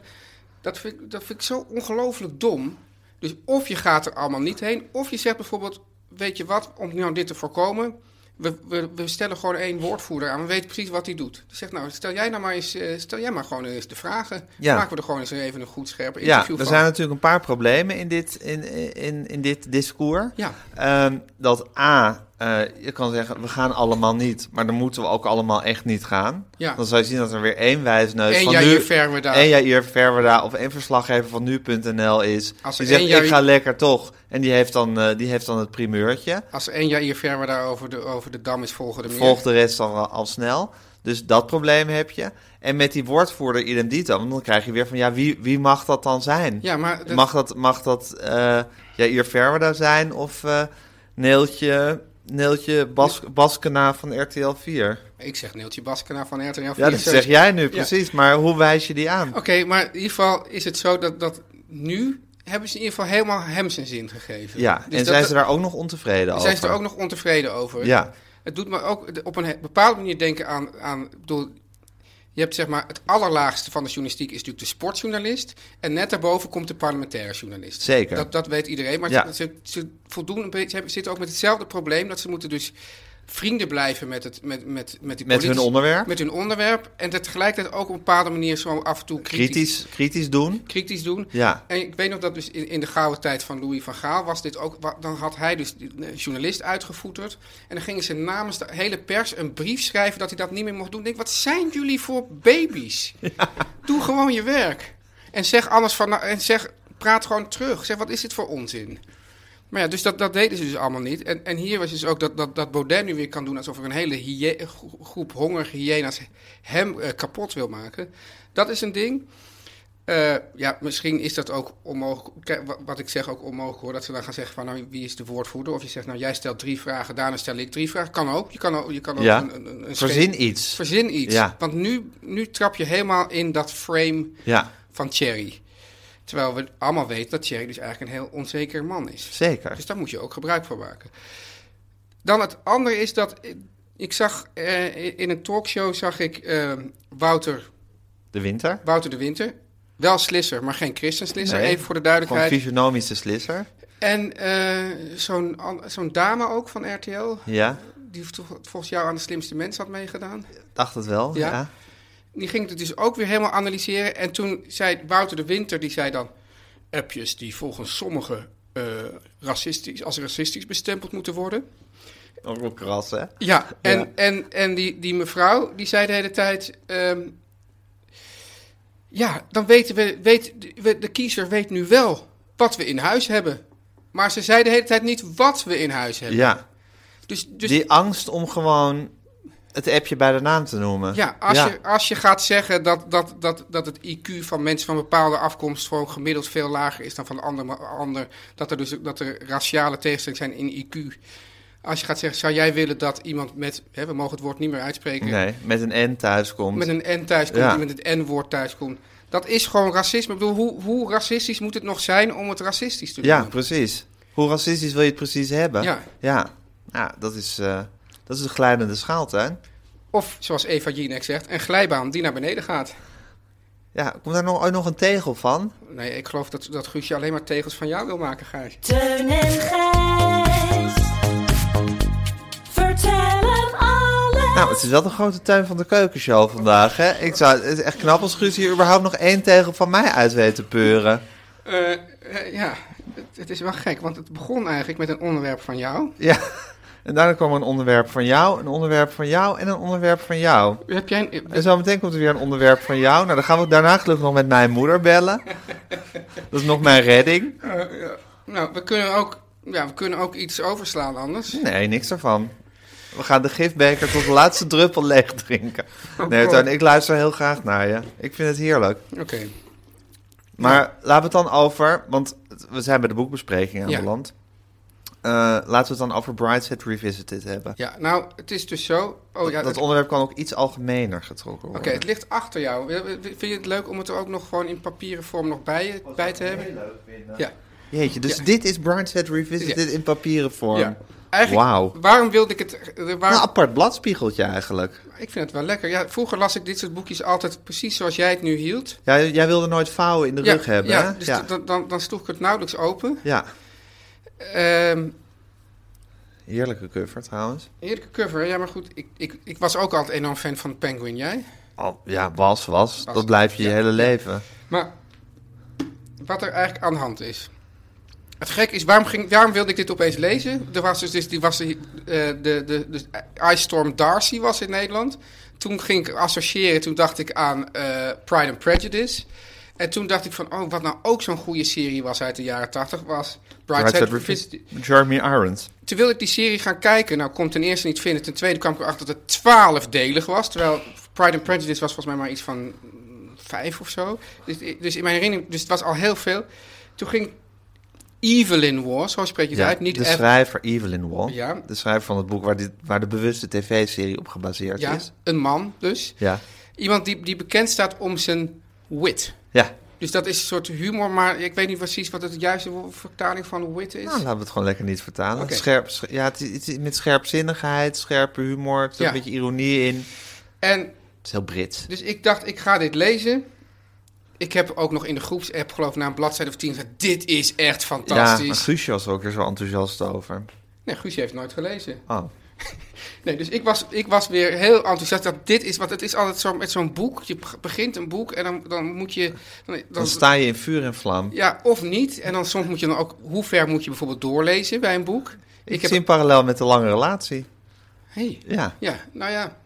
Speaker 3: Dat vind, ik- dat vind ik zo ongelooflijk dom. Dus of je gaat er allemaal niet heen, of je zegt bijvoorbeeld, weet je wat, om nou dit te voorkomen... we, we, we stellen gewoon één woordvoerder aan. We weten precies wat hij doet. Die zegt, nou, stel jij nou maar eens, eh, stel jij maar gewoon eens de vragen.
Speaker 2: Ja.
Speaker 3: Maken we er gewoon eens even een goed scherp
Speaker 2: Ja,
Speaker 3: interview
Speaker 2: er
Speaker 3: van.
Speaker 2: zijn natuurlijk een paar problemen in dit, in, in, in dit discours.
Speaker 3: Ja.
Speaker 2: Ehm, dat A, eh, je kan zeggen, we gaan allemaal niet. Maar dan moeten we ook allemaal echt niet gaan.
Speaker 3: Ja.
Speaker 2: Dan zou je zien dat er weer één wijsneus
Speaker 3: Eén
Speaker 2: van
Speaker 3: Jair
Speaker 2: nu...
Speaker 3: Verwerda.
Speaker 2: één Jair Verwerda of één verslaggever van nu.nl is.
Speaker 3: Als er
Speaker 2: die zegt,
Speaker 3: één Jair-
Speaker 2: ik ga lekker toch. En die heeft dan, eh, die heeft dan het primeurtje.
Speaker 3: Als één jaar hier ver we daar over de, over de dam is, volgen de meer.
Speaker 2: Volgt de rest dan al, al snel. Dus dat probleem heb je. En met die woordvoerder idem dito, want dan krijg je weer van, ja, wie, wie mag dat dan zijn?
Speaker 3: Ja, maar dat-
Speaker 2: Mag dat, mag dat eh Jair Verwerda zijn of eh, Neeltje, Neeltje Bas, Baskena van RTL 4?
Speaker 3: ik zeg Neeltje Baskena van RTL.
Speaker 2: Ja, dat zeg jij nu precies, maar hoe wijs je die aan?
Speaker 3: dus- Oké, maar in ieder geval is het zo dat, dat nu hebben ze in ieder geval helemaal hem zijn zin gegeven.
Speaker 2: Ja,
Speaker 3: Dus
Speaker 2: en
Speaker 3: dat-
Speaker 2: zijn ze daar ook nog ontevreden over?
Speaker 3: zijn ze er ook nog ontevreden over.
Speaker 2: Ja.
Speaker 3: Het doet me ook op een he- bepaalde manier denken aan... aan ik bedoel, je hebt zeg maar het allerlaagste van de journalistiek is natuurlijk de sportjournalist. En net daarboven komt de parlementaire journalist.
Speaker 2: Zeker.
Speaker 3: Dat, dat weet iedereen. Maar
Speaker 2: Ja.
Speaker 3: ze, ze voldoen een beetje, ze hebben- zitten ook met hetzelfde probleem. Dat ze moeten dus vrienden blijven met, het, met, met, met, die
Speaker 2: Met hun
Speaker 3: politici-
Speaker 2: onderwerp?
Speaker 3: Met hun onderwerp. En dat tegelijkertijd ook op een bepaalde manier zo af en toe kritisch
Speaker 2: Kritisch, kritisch doen?
Speaker 3: kritisch doen.
Speaker 2: Ja.
Speaker 3: En ik weet nog dat dus in, in de gouden tijd van Louis van Gaal was dit ook. wa- Dan had hij dus een journalist uitgevoeterd. En dan gingen ze namens de hele pers een brief schrijven dat hij dat niet meer mocht doen. Ik denk, wat zijn jullie voor baby's? Doe gewoon je werk. En zeg anders van. En zeg, praat gewoon terug. Zeg, wat is dit voor onzin? Maar ja, dus dat, dat deden ze dus allemaal niet. En, en hier was dus ook dat, dat, dat Baudet nu weer kan doen alsof er een hele hyë- gro- groep hongerige hyena's hem eh, kapot wil maken. Dat is een ding. Eh, ja, misschien is dat ook onmogelijk. Kijk, wa- Wat ik zeg ook onmogelijk hoor. Dat ze dan gaan zeggen van nou, wie is de woordvoerder? Of je zegt nou, jij stelt drie vragen, daarna stel ik drie vragen. Kan ook. Je kan ook, je kan ook
Speaker 2: Ja.
Speaker 3: een, een, een- een scheef-
Speaker 2: Verzin iets.
Speaker 3: Verzin iets.
Speaker 2: Ja.
Speaker 3: Want nu, nu trap je helemaal in dat frame
Speaker 2: Ja,
Speaker 3: van Thierry. Terwijl we allemaal weten dat Thierry dus eigenlijk een heel onzeker man is.
Speaker 2: zeker.
Speaker 3: Dus daar moet je ook gebruik van maken. Dan het andere is dat eh, ik zag eh, in een talkshow zag ik eh, Wouter,
Speaker 2: De winter?
Speaker 3: Wouter de Winter. Wel slisser, maar geen christenslisser,
Speaker 2: Nee,
Speaker 3: even voor de
Speaker 2: Gewoon
Speaker 3: duidelijkheid.
Speaker 2: fysionomische slisser?
Speaker 3: En eh, zo'n an- zo'n dame ook van RTL,
Speaker 2: Ja,
Speaker 3: die toch volgens jou aan de slimste mens had meegedaan.
Speaker 2: dacht het wel.
Speaker 3: Ja.
Speaker 2: Ja.
Speaker 3: Die ging het dus ook weer helemaal analyseren. En toen zei Wouter de Winter, die zei dan... appjes die volgens sommigen eh, racistisch, als racistisch bestempeld moeten worden.
Speaker 2: Ook wel kras, hè?
Speaker 3: Ja, en,
Speaker 2: Ja.
Speaker 3: en, en die, die mevrouw, die zei de hele tijd... ehm, ja, dan weten we, weet, we- de kiezer weet nu wel wat we in huis hebben. Maar ze zei de hele tijd niet wat we in huis hebben.
Speaker 2: Ja,
Speaker 3: Dus, dus
Speaker 2: die angst om gewoon het appje bij de naam te noemen.
Speaker 3: Ja, als, Je, als je gaat zeggen dat, dat, dat, dat het IQ van mensen van bepaalde afkomst gewoon gemiddeld veel lager is dan van ander, maar ander dat er dus dat er raciale tegenstellingen zijn in IQ. Als je gaat zeggen, zou jij willen dat iemand met, hè, we mogen het woord niet meer uitspreken,
Speaker 2: Nee, met een N thuis komt.
Speaker 3: met een N thuis komt,
Speaker 2: Ja.
Speaker 3: die met het N-woord thuis komt. Dat is gewoon racisme. Ik bedoel, hoe, hoe racistisch moet het nog zijn om het racistisch te doen?
Speaker 2: Ja, precies. Hoe racistisch wil je het precies hebben?
Speaker 3: Ja.
Speaker 2: Ja, Ja, dat, is, eh, dat is een glijdende schaaltuin.
Speaker 3: Of, zoals Eva Jinek zegt, een glijbaan die naar beneden gaat.
Speaker 2: Ja, komt daar nog, ooit nog een tegel van?
Speaker 3: Nee, ik geloof dat, dat Guusje alleen maar tegels van jou wil maken, Gijs.
Speaker 5: Teun en Gijs. Vertel hem alles.
Speaker 2: Nou, het is wel de grote tuin van de keukenshow vandaag, hè? Ik zou, het is echt knap als Guus hier überhaupt nog één tegel van mij uit weet te peuren.
Speaker 3: Eh, eh, ja, het, het is wel gek, want het begon eigenlijk met een onderwerp van jou.
Speaker 2: Ja. En daarna kwam er een onderwerp van jou, een onderwerp van jou en een onderwerp van jou.
Speaker 3: Heb jij een, dus-
Speaker 2: En zo meteen komt er weer een onderwerp van jou. Nou, dan gaan we daarna gelukkig nog met mijn moeder bellen. Dat is nog mijn redding.
Speaker 3: eh, eh, nou, we kunnen, ook, ja, we kunnen ook iets overslaan anders.
Speaker 2: Nee, niks ervan. We gaan de gifbeker tot de laatste druppel leeg drinken. Nee,
Speaker 3: Oh, God.
Speaker 2: Toon, ik luister heel graag naar je. Ik vind het heerlijk.
Speaker 3: Oké,
Speaker 2: Maar laten we het dan over... Want we zijn bij de boekbespreking
Speaker 3: Ja.
Speaker 2: aanbeland. Eh, laten we het dan over Brideshead Revisited hebben.
Speaker 3: ja, nou, het is dus zo... Oh, ja,
Speaker 2: dat
Speaker 3: het-
Speaker 2: onderwerp kan ook iets algemener getrokken worden.
Speaker 3: Oké, het ligt achter jou. Wil- wil- Vind je het leuk om het er ook nog gewoon in papieren vorm nog bij, je- bij te hebben? Ja.
Speaker 2: Jeetje, dus dit is Brideshead Revisited in papieren vorm.
Speaker 3: ja. Eigenlijk,
Speaker 2: Wauw. Nou,
Speaker 3: waarom wilde ik het... eh, waarom-
Speaker 2: Een apart bladspiegeltje eigenlijk.
Speaker 3: ik vind het wel lekker. Ja, vroeger las ik dit soort boekjes altijd precies zoals jij het nu hield.
Speaker 2: Ja, jij wilde nooit vouwen in de rug hebben,
Speaker 3: ja,
Speaker 2: hè?
Speaker 3: dus
Speaker 2: ja.
Speaker 3: dan, dan, dan sloeg ik het nauwelijks open.
Speaker 2: ja.
Speaker 3: Ehm,
Speaker 2: Heerlijke cover trouwens.
Speaker 3: Heerlijke cover, ja, maar goed. Ik, ik, ik was ook altijd enorm fan van Penguin, jij?
Speaker 2: Al- ja, was, was. Dat blijf je je hele leven.
Speaker 3: Maar wat er eigenlijk aan de hand is. Het gek is, waarom, ging, waarom wilde ik dit opeens lezen? Er was dus, dus die was die, eh, de, de, de Ice Storm Darcy was in Nederland. Toen ging ik associëren, toen dacht ik aan eh, Pride and Prejudice. En toen dacht ik van, oh, wat nou ook zo'n goede serie was uit de jaren 80 was Brightside
Speaker 2: Brightside
Speaker 3: Revisited.
Speaker 2: Revis- Jeremy Irons.
Speaker 3: Toen wilde ik die serie gaan kijken. Nou, kon ik ten eerste niet vinden. Ten tweede kwam ik erachter dat het twaalfdelig was. Terwijl Pride and Prejudice was volgens mij maar iets van mm, vijf of zo. Dus, dus in mijn herinnering, dus het was al heel veel. Toen ging Evelyn War, zo spreek je het uit. Niet
Speaker 2: de
Speaker 3: Eve-
Speaker 2: schrijver Evelyn Wall.
Speaker 3: Ja.
Speaker 2: De schrijver van het boek waar, dit, waar de bewuste tv-serie op gebaseerd
Speaker 3: ja,
Speaker 2: is.
Speaker 3: een man dus.
Speaker 2: Ja.
Speaker 3: Iemand die, die bekend staat om zijn wit.
Speaker 2: Ja.
Speaker 3: Dus dat is een soort humor, maar ik weet niet precies wat het juiste wo- vertaling van wit is.
Speaker 2: Nou, laten we het gewoon lekker niet vertalen.
Speaker 3: Oké.
Speaker 2: Scherp, sch- ja, het, is- het is met scherpzinnigheid, scherpe humor, er zit
Speaker 3: Ja.
Speaker 2: een beetje ironie in. Het
Speaker 3: En
Speaker 2: is heel Brits.
Speaker 3: Dus ik dacht, ik ga dit lezen. Ik heb ook nog in de groepsapp, geloof ik, na een bladzijde of tien gezegd... dit is echt
Speaker 2: Ja, maar
Speaker 3: fantastisch.
Speaker 2: Guusje was er ook weer zo enthousiast over.
Speaker 3: Nee, Guusje heeft nooit gelezen.
Speaker 2: Oh,
Speaker 3: Nee, dus ik was, ik was weer heel enthousiast dat dit is... want het is altijd zo met zo'n boek. Je beg- begint een boek en dan, dan moet je... Dan,
Speaker 2: dan sta je in vuur en vlam.
Speaker 3: ja, of niet. En dan soms moet je dan ook... hoe ver moet je bijvoorbeeld doorlezen bij een boek?
Speaker 2: ik zie een parallel met de lange relatie.
Speaker 3: Hey,
Speaker 2: Ja.
Speaker 3: Ja, nou ja,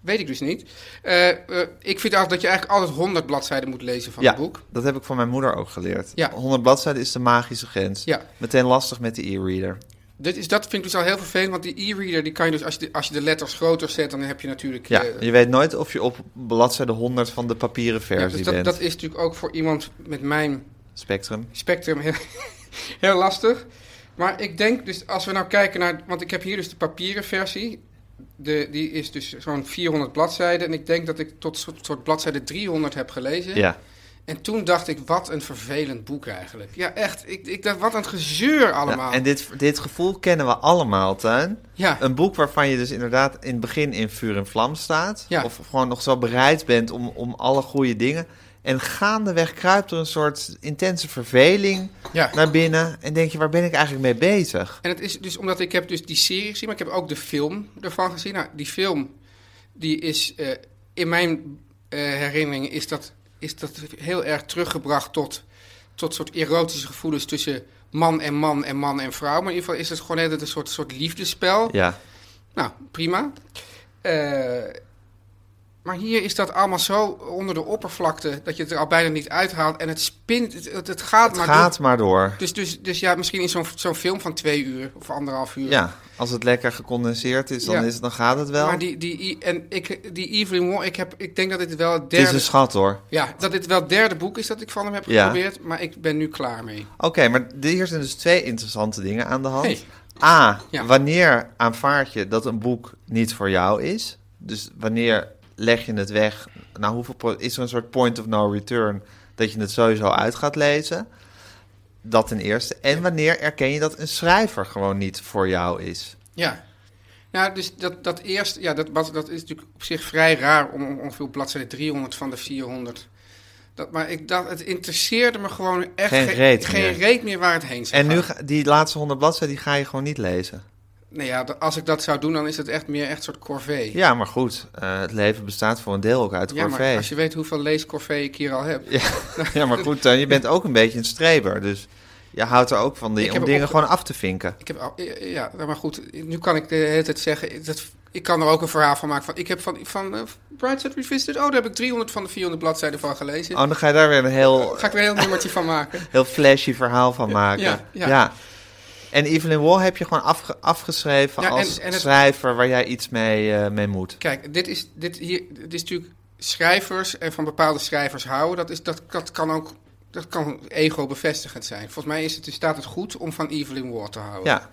Speaker 3: weet ik dus niet. Eh, eh, ik vind altijd dat je eigenlijk altijd 100 bladzijden moet lezen van
Speaker 2: ja,
Speaker 3: een boek.
Speaker 2: dat heb ik van mijn moeder ook geleerd.
Speaker 3: Ja.
Speaker 2: 100 bladzijden is de magische grens.
Speaker 3: Ja.
Speaker 2: Meteen lastig met de e-reader.
Speaker 3: Dit is, dat vind ik dus al heel vervelend, want die e-reader die kan je dus als je, de, als je de letters groter zet, dan heb je natuurlijk.
Speaker 2: Ja,
Speaker 3: eh,
Speaker 2: je weet nooit of je op bladzijde 100 van de papieren
Speaker 3: ja,
Speaker 2: versie
Speaker 3: dus dat,
Speaker 2: bent.
Speaker 3: dat is natuurlijk ook voor iemand met mijn
Speaker 2: Spectrum.
Speaker 3: spectrum heel, heel lastig. Maar ik denk dus, als we nou kijken naar. Want ik heb hier dus de papieren versie. De, die is dus zo'n 400 bladzijden. En ik denk dat ik tot soort, soort bladzijde 300 heb gelezen.
Speaker 2: Ja.
Speaker 3: En toen dacht ik, wat een vervelend boek eigenlijk. Ja, echt. Ik, ik dacht, wat een gezeur allemaal.
Speaker 2: Ja, en dit, dit gevoel kennen we allemaal, Tuin.
Speaker 3: Ja.
Speaker 2: Een boek waarvan je dus inderdaad in het begin in vuur en vlam staat.
Speaker 3: Ja.
Speaker 2: Of gewoon nog zo bereid bent om, om alle goede dingen. En gaandeweg kruipt er een soort intense verveling
Speaker 3: Ja.
Speaker 2: naar binnen. En denk je, waar ben ik eigenlijk mee bezig?
Speaker 3: En het is dus omdat ik heb dus die serie gezien, maar ik heb ook de film ervan gezien. Nou, die film, die is eh, in mijn eh herinnering is dat, is dat heel erg teruggebracht tot, tot soort erotische gevoelens tussen man en man en man en vrouw. Maar in ieder geval is het gewoon net een soort, soort liefdespel.
Speaker 2: Ja,
Speaker 3: Nou, prima. Eh, maar hier is dat allemaal zo onder de oppervlakte dat je het er al bijna niet uithaalt. En het spint, het, het- het gaat maar door.
Speaker 2: gaat maar door.
Speaker 3: Dus, dus, dus ja, misschien in zo'n zo'n film van twee uur of anderhalf uur.
Speaker 2: Ja, als het lekker gecondenseerd is, dan,
Speaker 3: Ja.
Speaker 2: is het, dan gaat het wel.
Speaker 3: Maar die, die, en ik, die Evelyn Waugh, ik, heb, ik denk dat dit wel het
Speaker 2: Het is
Speaker 3: derde...
Speaker 2: een schat hoor.
Speaker 3: ja, dat dit wel het derde boek is dat ik van hem heb
Speaker 2: Ja.
Speaker 3: geprobeerd. Maar ik ben nu klaar mee.
Speaker 2: Oké, maar hier zijn dus twee interessante dingen aan de hand.
Speaker 3: Hey.
Speaker 2: A,
Speaker 3: Ja.
Speaker 2: wanneer aanvaard je dat een boek niet voor jou is? Dus wanneer leg je het weg? Nou, hoeveel pro- is er een soort point of no return dat je het sowieso uit gaat lezen? Dat ten eerste. En wanneer erken je dat een schrijver gewoon niet voor jou is?
Speaker 3: Ja. Nou, dus dat, dat eerst... Ja, dat, was- dat is natuurlijk op zich vrij raar om om ongeveer op bladzijde 300 van de 400... Dat, maar ik, dat, het interesseerde me gewoon echt
Speaker 2: Geen
Speaker 3: ge-
Speaker 2: reet
Speaker 3: geen
Speaker 2: meer.
Speaker 3: reet meer waar het heen zou
Speaker 2: En nu,
Speaker 3: gaan.
Speaker 2: ga- die laatste honderd bladzijden, die ga je gewoon niet lezen.
Speaker 3: Nou ja, dat- als ik dat zou doen, dan is het echt meer echt een soort corvée.
Speaker 2: Ja, maar goed, eh, het leven bestaat voor een deel ook uit
Speaker 3: Ja,
Speaker 2: corvée.
Speaker 3: maar als je weet hoeveel leescorvée ik hier al heb.
Speaker 2: Ja, ja, maar goed, Teun, je bent ook een beetje een streber. Dus je houdt er ook van die,
Speaker 3: Ik
Speaker 2: om
Speaker 3: heb
Speaker 2: dingen
Speaker 3: opge-
Speaker 2: gewoon af te vinken.
Speaker 3: Ik heb al, ja, ja, maar goed, nu kan ik de hele tijd zeggen, dat, ik kan er ook een verhaal van maken. Van, ik heb van, van eh, Brightside Revisited, oh, daar heb ik 300 van de 400 bladzijden van gelezen.
Speaker 2: Oh, dan ga je daar weer een heel,
Speaker 3: Ga ik er een heel nummertje van maken.
Speaker 2: heel flashy verhaal van maken.
Speaker 3: ja, ja.
Speaker 2: En Evelyn Wall heb je gewoon afge- afgeschreven
Speaker 3: Ja, en-
Speaker 2: als
Speaker 3: en het-
Speaker 2: schrijver waar jij iets mee, eh, mee moet.
Speaker 3: Kijk, dit is, dit, hier, dit is natuurlijk schrijvers en van bepaalde schrijvers houden. Dat, is, dat, dat kan ook dat kan ego-bevestigend zijn. Volgens mij is het, staat het goed om van Evelyn Waugh te houden.
Speaker 2: Ja,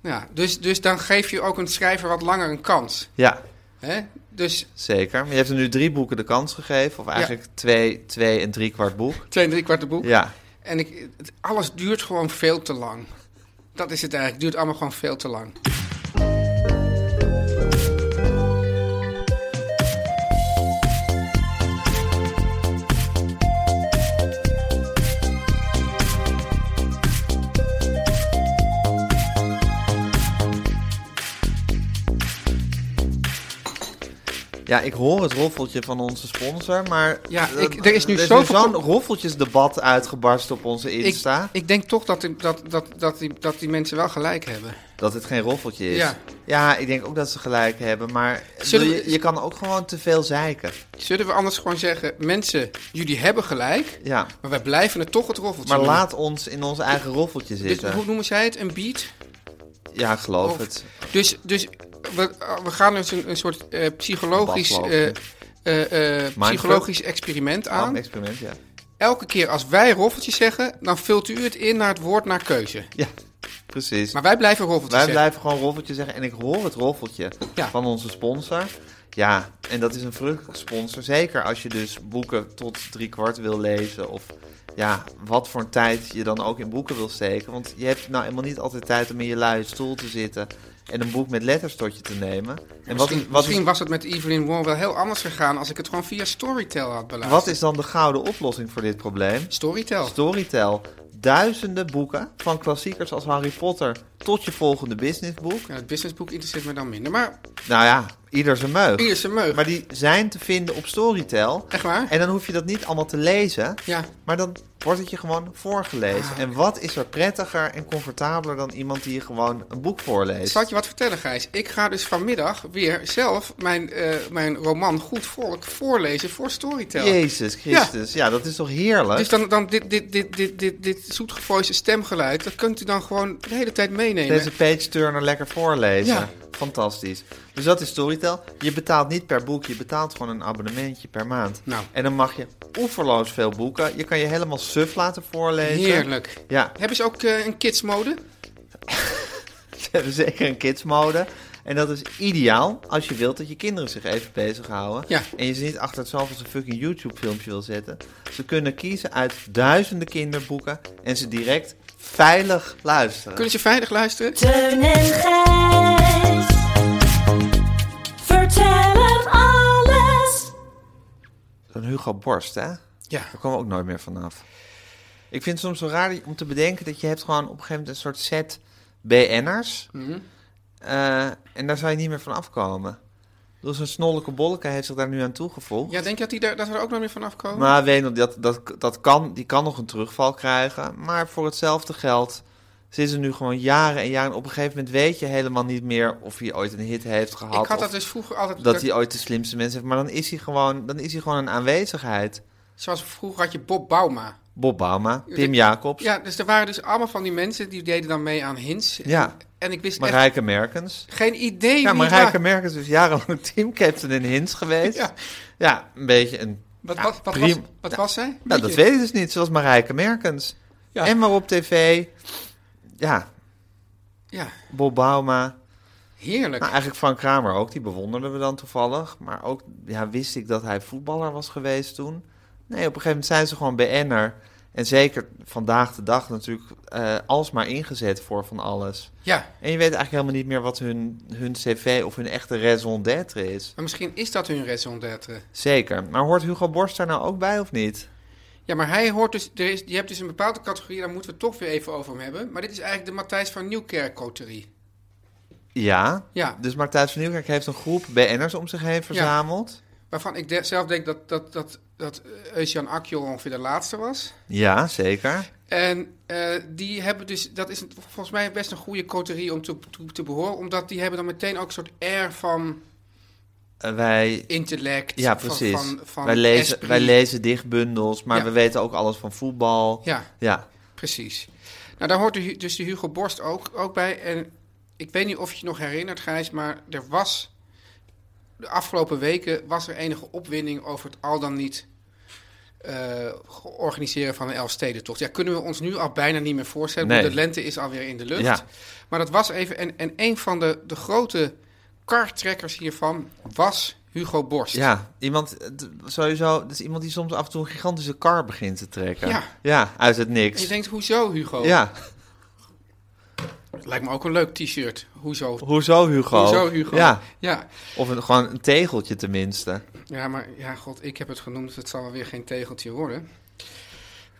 Speaker 3: Ja, dus, dus dan geef je ook een schrijver wat langer een kans.
Speaker 2: ja,
Speaker 3: Hè? Dus
Speaker 2: zeker. Maar je hebt er nu drie boeken de kans gegeven. Of eigenlijk twee, twee en drie kwart boek.
Speaker 3: twee en drie kwart de boek.
Speaker 2: Ja,
Speaker 3: En ik, het- alles duurt gewoon veel te lang. Dat is het eigenlijk. Het duurt allemaal gewoon veel te lang.
Speaker 2: Ja, ik hoor het roffeltje van onze sponsor, maar...
Speaker 3: Ja,
Speaker 2: eh,
Speaker 3: ik- er is nu
Speaker 2: nu
Speaker 3: zoveel-
Speaker 2: zo'n roffeltjesdebat uitgebarsten op onze Insta,
Speaker 3: Ik, ik denk toch dat, die- dat, dat, dat, die, dat die mensen wel gelijk hebben.
Speaker 2: dat het geen roffeltje is.
Speaker 3: Ja.
Speaker 2: Ja, ik denk ook dat ze gelijk hebben, maar
Speaker 3: Zullen
Speaker 2: je,
Speaker 3: we-
Speaker 2: je kan ook gewoon te veel zeiken.
Speaker 3: Zullen we anders gewoon zeggen, mensen, jullie hebben gelijk,
Speaker 2: Ja,
Speaker 3: maar wij blijven het toch het roffeltje
Speaker 2: maar
Speaker 3: noemen.
Speaker 2: laat ons in ons eigen roffeltje
Speaker 3: Dus,
Speaker 2: zitten.
Speaker 3: hoe noemen zij het? Een beat?
Speaker 2: Ja, ik geloof
Speaker 3: Of-
Speaker 2: het.
Speaker 3: Dus, dus we, we gaan dus een, een soort eh, psychologisch, eh,
Speaker 2: Badlopen.
Speaker 3: eh, eh, psychologisch experiment
Speaker 2: Ah, een
Speaker 3: aan.
Speaker 2: experiment, ja.
Speaker 3: Elke keer als wij roffeltjes zeggen, dan vult u het in naar het woord naar keuze.
Speaker 2: Ja, precies.
Speaker 3: Maar wij blijven roffeltjes
Speaker 2: Wij
Speaker 3: zeggen.
Speaker 2: blijven gewoon roffeltje zeggen. En ik hoor het roffeltje
Speaker 3: Ja.
Speaker 2: van onze sponsor. Ja, en dat is een verrukkelijk sponsor. Zeker als je dus boeken tot drie kwart wil lezen. Of ja, wat voor een tijd je dan ook in boeken wil steken. Want je hebt nou helemaal niet altijd tijd om in je luie stoel te zitten. En een boek met letters tot je te nemen. En wat,
Speaker 3: misschien
Speaker 2: wat,
Speaker 3: misschien
Speaker 2: is,
Speaker 3: was het met Evelyn Wong wel heel anders gegaan als ik het gewoon via Storytel had beluisterd.
Speaker 2: wat is dan de gouden oplossing voor dit probleem?
Speaker 3: Storytel?
Speaker 2: Storytel. Duizenden boeken van klassiekers als Harry Potter tot je volgende businessboek.
Speaker 3: Ja, het businessboek interesseert me dan minder. Maar
Speaker 2: Nou ja, ieder zijn meug.
Speaker 3: hier is een meug.
Speaker 2: Maar die zijn te vinden op Storytel.
Speaker 3: Echt waar?
Speaker 2: En dan hoef je dat niet allemaal te lezen.
Speaker 3: Ja. Ah,
Speaker 2: Maar dan wordt het je gewoon voorgelezen. En wat is er prettiger en comfortabeler dan iemand die je gewoon een boek voorleest?
Speaker 3: Zal ik je wat vertellen, Gijs? Ik ga dus vanmiddag weer zelf mijn, eh, mijn roman Goed Volk voorlezen voor Storytel.
Speaker 2: Jezus Christus. Ja. dat is toch heerlijk?
Speaker 3: Dus dan, dan dit, dit, dit, dit, dit, dit zoetgevoiste stemgeluid, dat kunt u dan gewoon de hele tijd meenemen.
Speaker 2: Deze page turner lekker voorlezen.
Speaker 3: Ja.
Speaker 2: Fantastisch. Dus dat is Storytel. Je betaalt niet per boek, je betaalt gewoon een abonnementje per maand.
Speaker 3: Nou.
Speaker 2: En dan mag je oeverloos veel boeken. Je kan je helemaal suf laten voorlezen.
Speaker 3: Heerlijk.
Speaker 2: Ja,
Speaker 3: Hebben ze ook eh, een kidsmode?
Speaker 2: Ze hebben zeker een kidsmode. En dat is ideaal als je wilt dat je kinderen zich even bezighouden.
Speaker 3: Ja.
Speaker 2: En je ze niet achter hetzelfde als een fucking YouTube-filmpje wil zetten. Ze kunnen kiezen uit duizenden kinderboeken en ze direct veilig luisteren.
Speaker 3: Kunnen ze veilig luisteren?
Speaker 5: Teun en Gijs. Vertel hem alles.
Speaker 2: Zo'n Hugo Borst, hè?
Speaker 3: Ja.
Speaker 2: Daar komen we ook nooit meer vanaf. Ik vind het soms zo raar om te bedenken dat je hebt gewoon op een gegeven moment een soort set BN'ers.
Speaker 3: Mhm.
Speaker 2: Eh, en daar zou je niet meer van afkomen. Dus een snolleke bolleke heeft zich daar nu aan toegevoegd.
Speaker 3: Ja, denk je dat, die daar, dat we er ook nog meer vanaf komen?
Speaker 2: Maar Wenel, dat, dat, dat kan, die kan nog een terugval krijgen. Maar voor hetzelfde geld zit ze nu gewoon jaren en jaren. Op een gegeven moment weet je helemaal niet meer of hij ooit een hit heeft gehad.
Speaker 3: ik had dat
Speaker 2: of
Speaker 3: dus vroeger altijd...
Speaker 2: dat hij ooit de slimste mensen heeft. Maar dan is hij gewoon, dan is hij gewoon een aanwezigheid.
Speaker 3: Zoals vroeger had je Bob Bauma.
Speaker 2: Bob Bauma, Pim
Speaker 3: Ik-
Speaker 2: Jacobs,
Speaker 3: Ja, dus er waren dus allemaal van die mensen die deden dan mee aan hints.
Speaker 2: Ja.
Speaker 3: En ik wist echt
Speaker 2: Marijke Merkens.
Speaker 3: geen idee
Speaker 2: Ja,
Speaker 3: wie het
Speaker 2: Marijke
Speaker 3: waren.
Speaker 2: Merkens is jarenlang teamcaptain in Hints geweest. Ja,
Speaker 3: Ja.
Speaker 2: een beetje een...
Speaker 3: Wat,
Speaker 2: ja,
Speaker 3: wat, wat, was,
Speaker 2: prima.
Speaker 3: wat was zij?
Speaker 2: Nou, dat weet ik dus niet, zoals Marijke Merkens.
Speaker 3: Ja.
Speaker 2: En maar op tv. Ja,
Speaker 3: Ja,
Speaker 2: Bob Bauma.
Speaker 3: heerlijk.
Speaker 2: Nou, eigenlijk Frank Kramer ook, die bewonderden we dan toevallig. Maar ook, ja, wist ik dat hij voetballer was geweest toen? Nee, op een gegeven moment zijn ze gewoon BN'er. En zeker vandaag de dag natuurlijk eh alsmaar ingezet voor van alles.
Speaker 3: Ja,
Speaker 2: En je weet eigenlijk helemaal niet meer wat hun, hun cv of hun echte raison d'être is.
Speaker 3: maar misschien is dat hun raison d'être.
Speaker 2: Zeker. Maar hoort Hugo Borst daar nou ook bij of niet?
Speaker 3: Ja, maar hij hoort dus, er is, je hebt dus een bepaalde categorie, daar moeten we het toch weer even over hem hebben. Maar dit is eigenlijk de Matthijs van Nieuwkerk-coterie.
Speaker 2: Ja.
Speaker 3: Ja.
Speaker 2: Dus Martijn van Nieuwkerk heeft een groep BN'ers om zich heen verzameld.
Speaker 3: Waarvan ik de- zelf denk dat, dat, dat, dat eh, Eusjan Akjol ongeveer de laatste was.
Speaker 2: Ja, zeker.
Speaker 3: En eh, die hebben dus, dat is een- volgens mij best een goede coterie om te, te, te behoren. Omdat die hebben dan meteen ook een soort air van
Speaker 2: Eh, wij
Speaker 3: intellect.
Speaker 2: Ja,
Speaker 3: van-
Speaker 2: precies.
Speaker 3: Van, van
Speaker 2: wij, lezen,
Speaker 3: esprit.
Speaker 2: wij lezen dichtbundels, maar
Speaker 3: Ja.
Speaker 2: we weten ook alles van voetbal.
Speaker 3: Ja.
Speaker 2: Ja,
Speaker 3: Precies. Nou, daar hoort de Hu- dus de Hugo Borst ook, ook bij. En ik weet niet of je je nog herinnert, Gijs, maar er was... De afgelopen weken was er enige opwinding over het al dan niet eh organiseren van een Elfstedentocht. Ja, kunnen we ons nu al bijna niet meer voorstellen.
Speaker 2: Nee.
Speaker 3: want De lente is alweer in de lucht.
Speaker 2: Ja.
Speaker 3: Maar dat was even... En, en een van de, de grote kartrekkers hiervan was Hugo Borst.
Speaker 2: ja. Iemand, het- sowieso, dat is iemand die soms af en toe een gigantische kar begint te trekken.
Speaker 3: Ja.
Speaker 2: uit het
Speaker 3: En je
Speaker 2: niks.
Speaker 3: denkt, hoezo Hugo?
Speaker 2: Ja,
Speaker 3: Lijkt me ook een leuk t-shirt. Hoezo?
Speaker 2: hoezo Hugo?
Speaker 3: Hoezo Hugo?
Speaker 2: Ja,
Speaker 3: ja.
Speaker 2: of een, gewoon een tegeltje tenminste.
Speaker 3: Ja, maar ja, god, ik heb het genoemd, dus het zal wel weer geen tegeltje worden.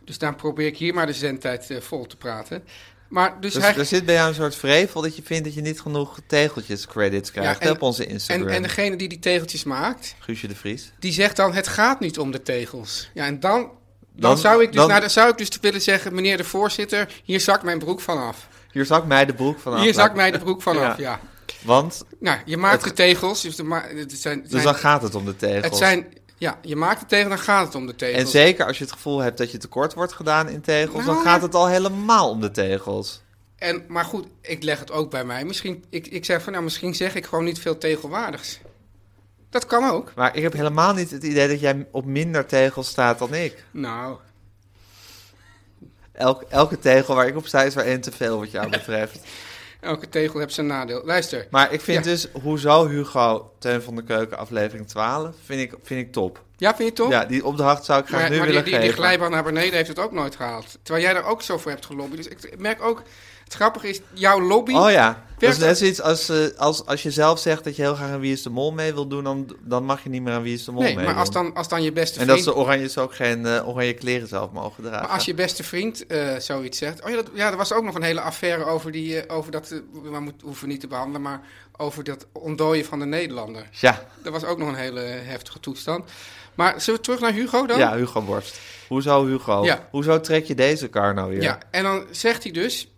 Speaker 3: Dus daarom probeer ik hier maar de zendtijd eh, vol te praten. Maar dus,
Speaker 2: Dus
Speaker 3: hij,
Speaker 2: er zit bij jou een soort vrevel dat je vindt dat je niet genoeg tegeltjes credits krijgt
Speaker 3: en-
Speaker 2: hè, op onze
Speaker 3: en,
Speaker 2: Instagram.
Speaker 3: en degene die die tegeltjes maakt,
Speaker 2: Guusje de Vries.
Speaker 3: die zegt dan: het gaat niet om de tegels. Ja, en dan, dan,
Speaker 2: Dan-
Speaker 3: zou, ik dus,
Speaker 2: dan-
Speaker 3: nou, dan zou ik dus willen zeggen: meneer de voorzitter, hier zakt mijn broek vanaf.
Speaker 2: Hier zak mij de broek vanaf. Nou,
Speaker 3: Hier zakt mij de broek vanaf, ja.
Speaker 2: Want,
Speaker 3: Nou, je maakt de tegels, dus de ma- het zijn, het
Speaker 2: dus
Speaker 3: zijn,
Speaker 2: dan gaat het om de tegels.
Speaker 3: het zijn, ja, je maakt de tegel, dan gaat het om de tegels.
Speaker 2: En zeker als je het gevoel hebt dat je tekort wordt gedaan in tegels, dan
Speaker 3: Nou,
Speaker 2: gaat het al helemaal om de tegels.
Speaker 3: En, maar goed, ik leg het ook bij mij. Misschien, ik, ik zeg van, nou, misschien zeg ik gewoon niet veel tegelwaardigs. Dat kan ook.
Speaker 2: Maar ik heb helemaal niet het idee dat jij op minder tegels staat dan ik.
Speaker 3: Nou,
Speaker 2: Elk, elke tegel waar ik op sta is er één te veel wat jou betreft.
Speaker 3: elke tegel heeft zijn nadeel. Luister,
Speaker 2: Maar ik vind
Speaker 3: Ja.
Speaker 2: dus, hoezo Hugo, Teun van de Keuken, aflevering 12, vind ik, vind ik top.
Speaker 3: ja, vind je het toch?
Speaker 2: Ja, die opdracht zou ik graag
Speaker 3: maar
Speaker 2: nu
Speaker 3: maar die,
Speaker 2: willen
Speaker 3: die, die
Speaker 2: geven.
Speaker 3: glijbaan naar beneden heeft het ook nooit gehaald. Terwijl jij daar ook zo voor hebt gelobbyd. Dus ik merk ook, het grappige is, jouw lobby...
Speaker 2: Oh ja, dat is
Speaker 3: Werkt
Speaker 2: net zoiets als, eh, als, als je zelf zegt dat je heel graag aan Wie is de Mol mee wil doen, dan, dan mag je niet meer aan Wie is de Mol
Speaker 3: Nee,
Speaker 2: mee
Speaker 3: maar als
Speaker 2: doen.
Speaker 3: dan, als dan je beste
Speaker 2: En
Speaker 3: vriend...
Speaker 2: dat ze oranjes ook geen eh, oranje kleren zelf mogen dragen.
Speaker 3: Maar als je beste vriend eh, zoiets zegt. Oh ja, dat, ja, er was ook nog een hele affaire over, die, eh, over dat. eh, we moet, hoeven we niet te behandelen, maar over dat ontdooien van de Nederlander.
Speaker 2: Ja,
Speaker 3: Dat was ook nog een hele heftige toestand. Maar zullen we terug naar Hugo dan?
Speaker 2: ja, Hugo Borst. Hoezo Hugo?
Speaker 3: Ja.
Speaker 2: Hoezo trek je deze kar nou weer?
Speaker 3: Ja, en dan zegt hij dus.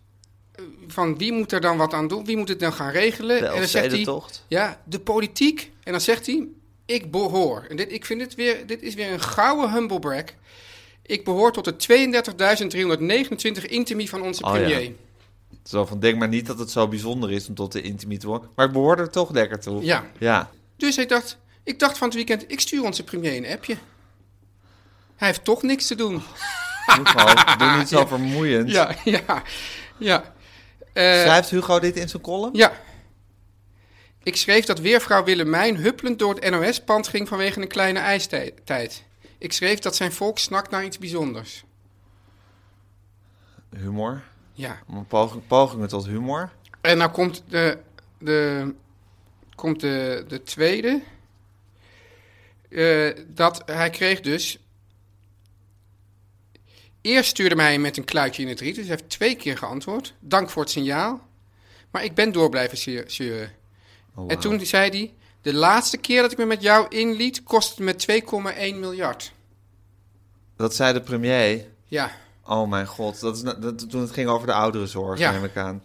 Speaker 3: eh, van wie moet er dan wat aan doen? Wie moet het dan gaan regelen?
Speaker 2: De
Speaker 3: en dan zegt hij.
Speaker 2: Elfstedentocht.
Speaker 3: Ja, de politiek. En dan zegt hij. Ik behoor. En dit, ik vind dit weer. Dit is weer een gouden humble brag. Ik behoor tot de 32.329 intimie van onze
Speaker 2: Oh ja.
Speaker 3: premier.
Speaker 2: Zo van, denk maar niet dat het zo bijzonder is om tot de intimie te worden. Maar ik behoor er toch lekker toe.
Speaker 3: Ja.
Speaker 2: Ja.
Speaker 3: Dus ik dacht, ik dacht van het weekend, ik stuur onze premier een appje. Hij heeft toch niks te doen.
Speaker 2: Oh. Hugo, doe niet zo vermoeiend.
Speaker 3: Ja, ja, ja. Eh,
Speaker 2: Schrijft Hugo dit in zijn column?
Speaker 3: ja. Ik schreef dat weervrouw Willemijn huppelend door het NOS-pand ging vanwege een kleine ijstijd. Ik schreef dat zijn volk snakt naar iets bijzonders.
Speaker 2: Humor.
Speaker 3: Ja.
Speaker 2: Om een poging- pogingen tot humor.
Speaker 3: En nou komt de, de, komt de, de tweede. Eh, dat hij kreeg dus... Eerst stuurde hij hem met een kluitje in het riet. Dus hij heeft twee keer geantwoord. Dank voor het signaal. Maar ik ben door blijven zeu- zeuren.
Speaker 2: Oh, wauw.
Speaker 3: En toen zei hij... De laatste keer dat ik me met jou inliet... kost het me 2,1 miljard.
Speaker 2: Dat zei de premier.
Speaker 3: Ja.
Speaker 2: Oh mijn god, dat is na- dat, toen het ging over de ouderenzorg,
Speaker 3: Ja.
Speaker 2: neem ik aan. Ik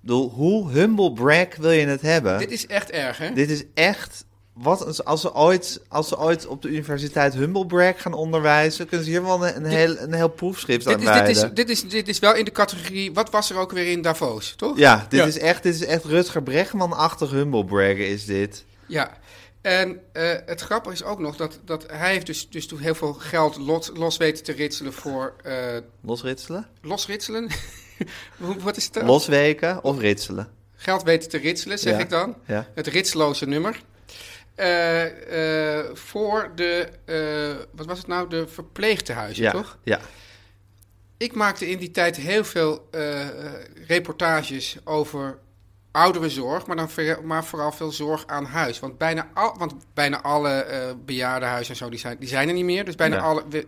Speaker 2: bedoel, hoe humble brag wil je het hebben?
Speaker 3: Dit is echt erg, hè?
Speaker 2: Dit is echt. Wat een- als, ze ooit, als ze ooit op de universiteit Humblebrag gaan onderwijzen, kunnen ze hier wel een, een, heel, een heel proefschrift aan
Speaker 3: Dit is, dit, is,
Speaker 2: wijden.
Speaker 3: dit, is, dit is wel in de categorie... Wat was er ook weer in Davos, toch?
Speaker 2: Ja, dit,
Speaker 3: Ja.
Speaker 2: Is echt, dit is echt Rutger Bregman-achtig Humblebraggen is dit.
Speaker 3: Ja, en eh, het grappige is ook nog dat, dat hij heeft dus, dus toen heel veel geld los, los weten te ritselen voor eh,
Speaker 2: Losritselen?
Speaker 3: losritselen. Hoe- Wat is het? dan?
Speaker 2: Losweken of ritselen?
Speaker 3: Geld weten te ritselen, zeg
Speaker 2: Ja,
Speaker 3: ik dan.
Speaker 2: ja.
Speaker 3: Het ritsloze nummer. Eh, eh, voor de, eh, wat was het nou, de verpleegtehuizen,
Speaker 2: Ja,
Speaker 3: toch?
Speaker 2: ja.
Speaker 3: Ik maakte in die tijd heel veel eh, reportages over ouderenzorg, maar, dan ver- maar vooral veel zorg aan huis. Want bijna, al, want bijna alle eh, bejaardenhuizen en zo, die zijn, die zijn er niet meer. Dus bijna
Speaker 2: Ja.
Speaker 3: alle, we-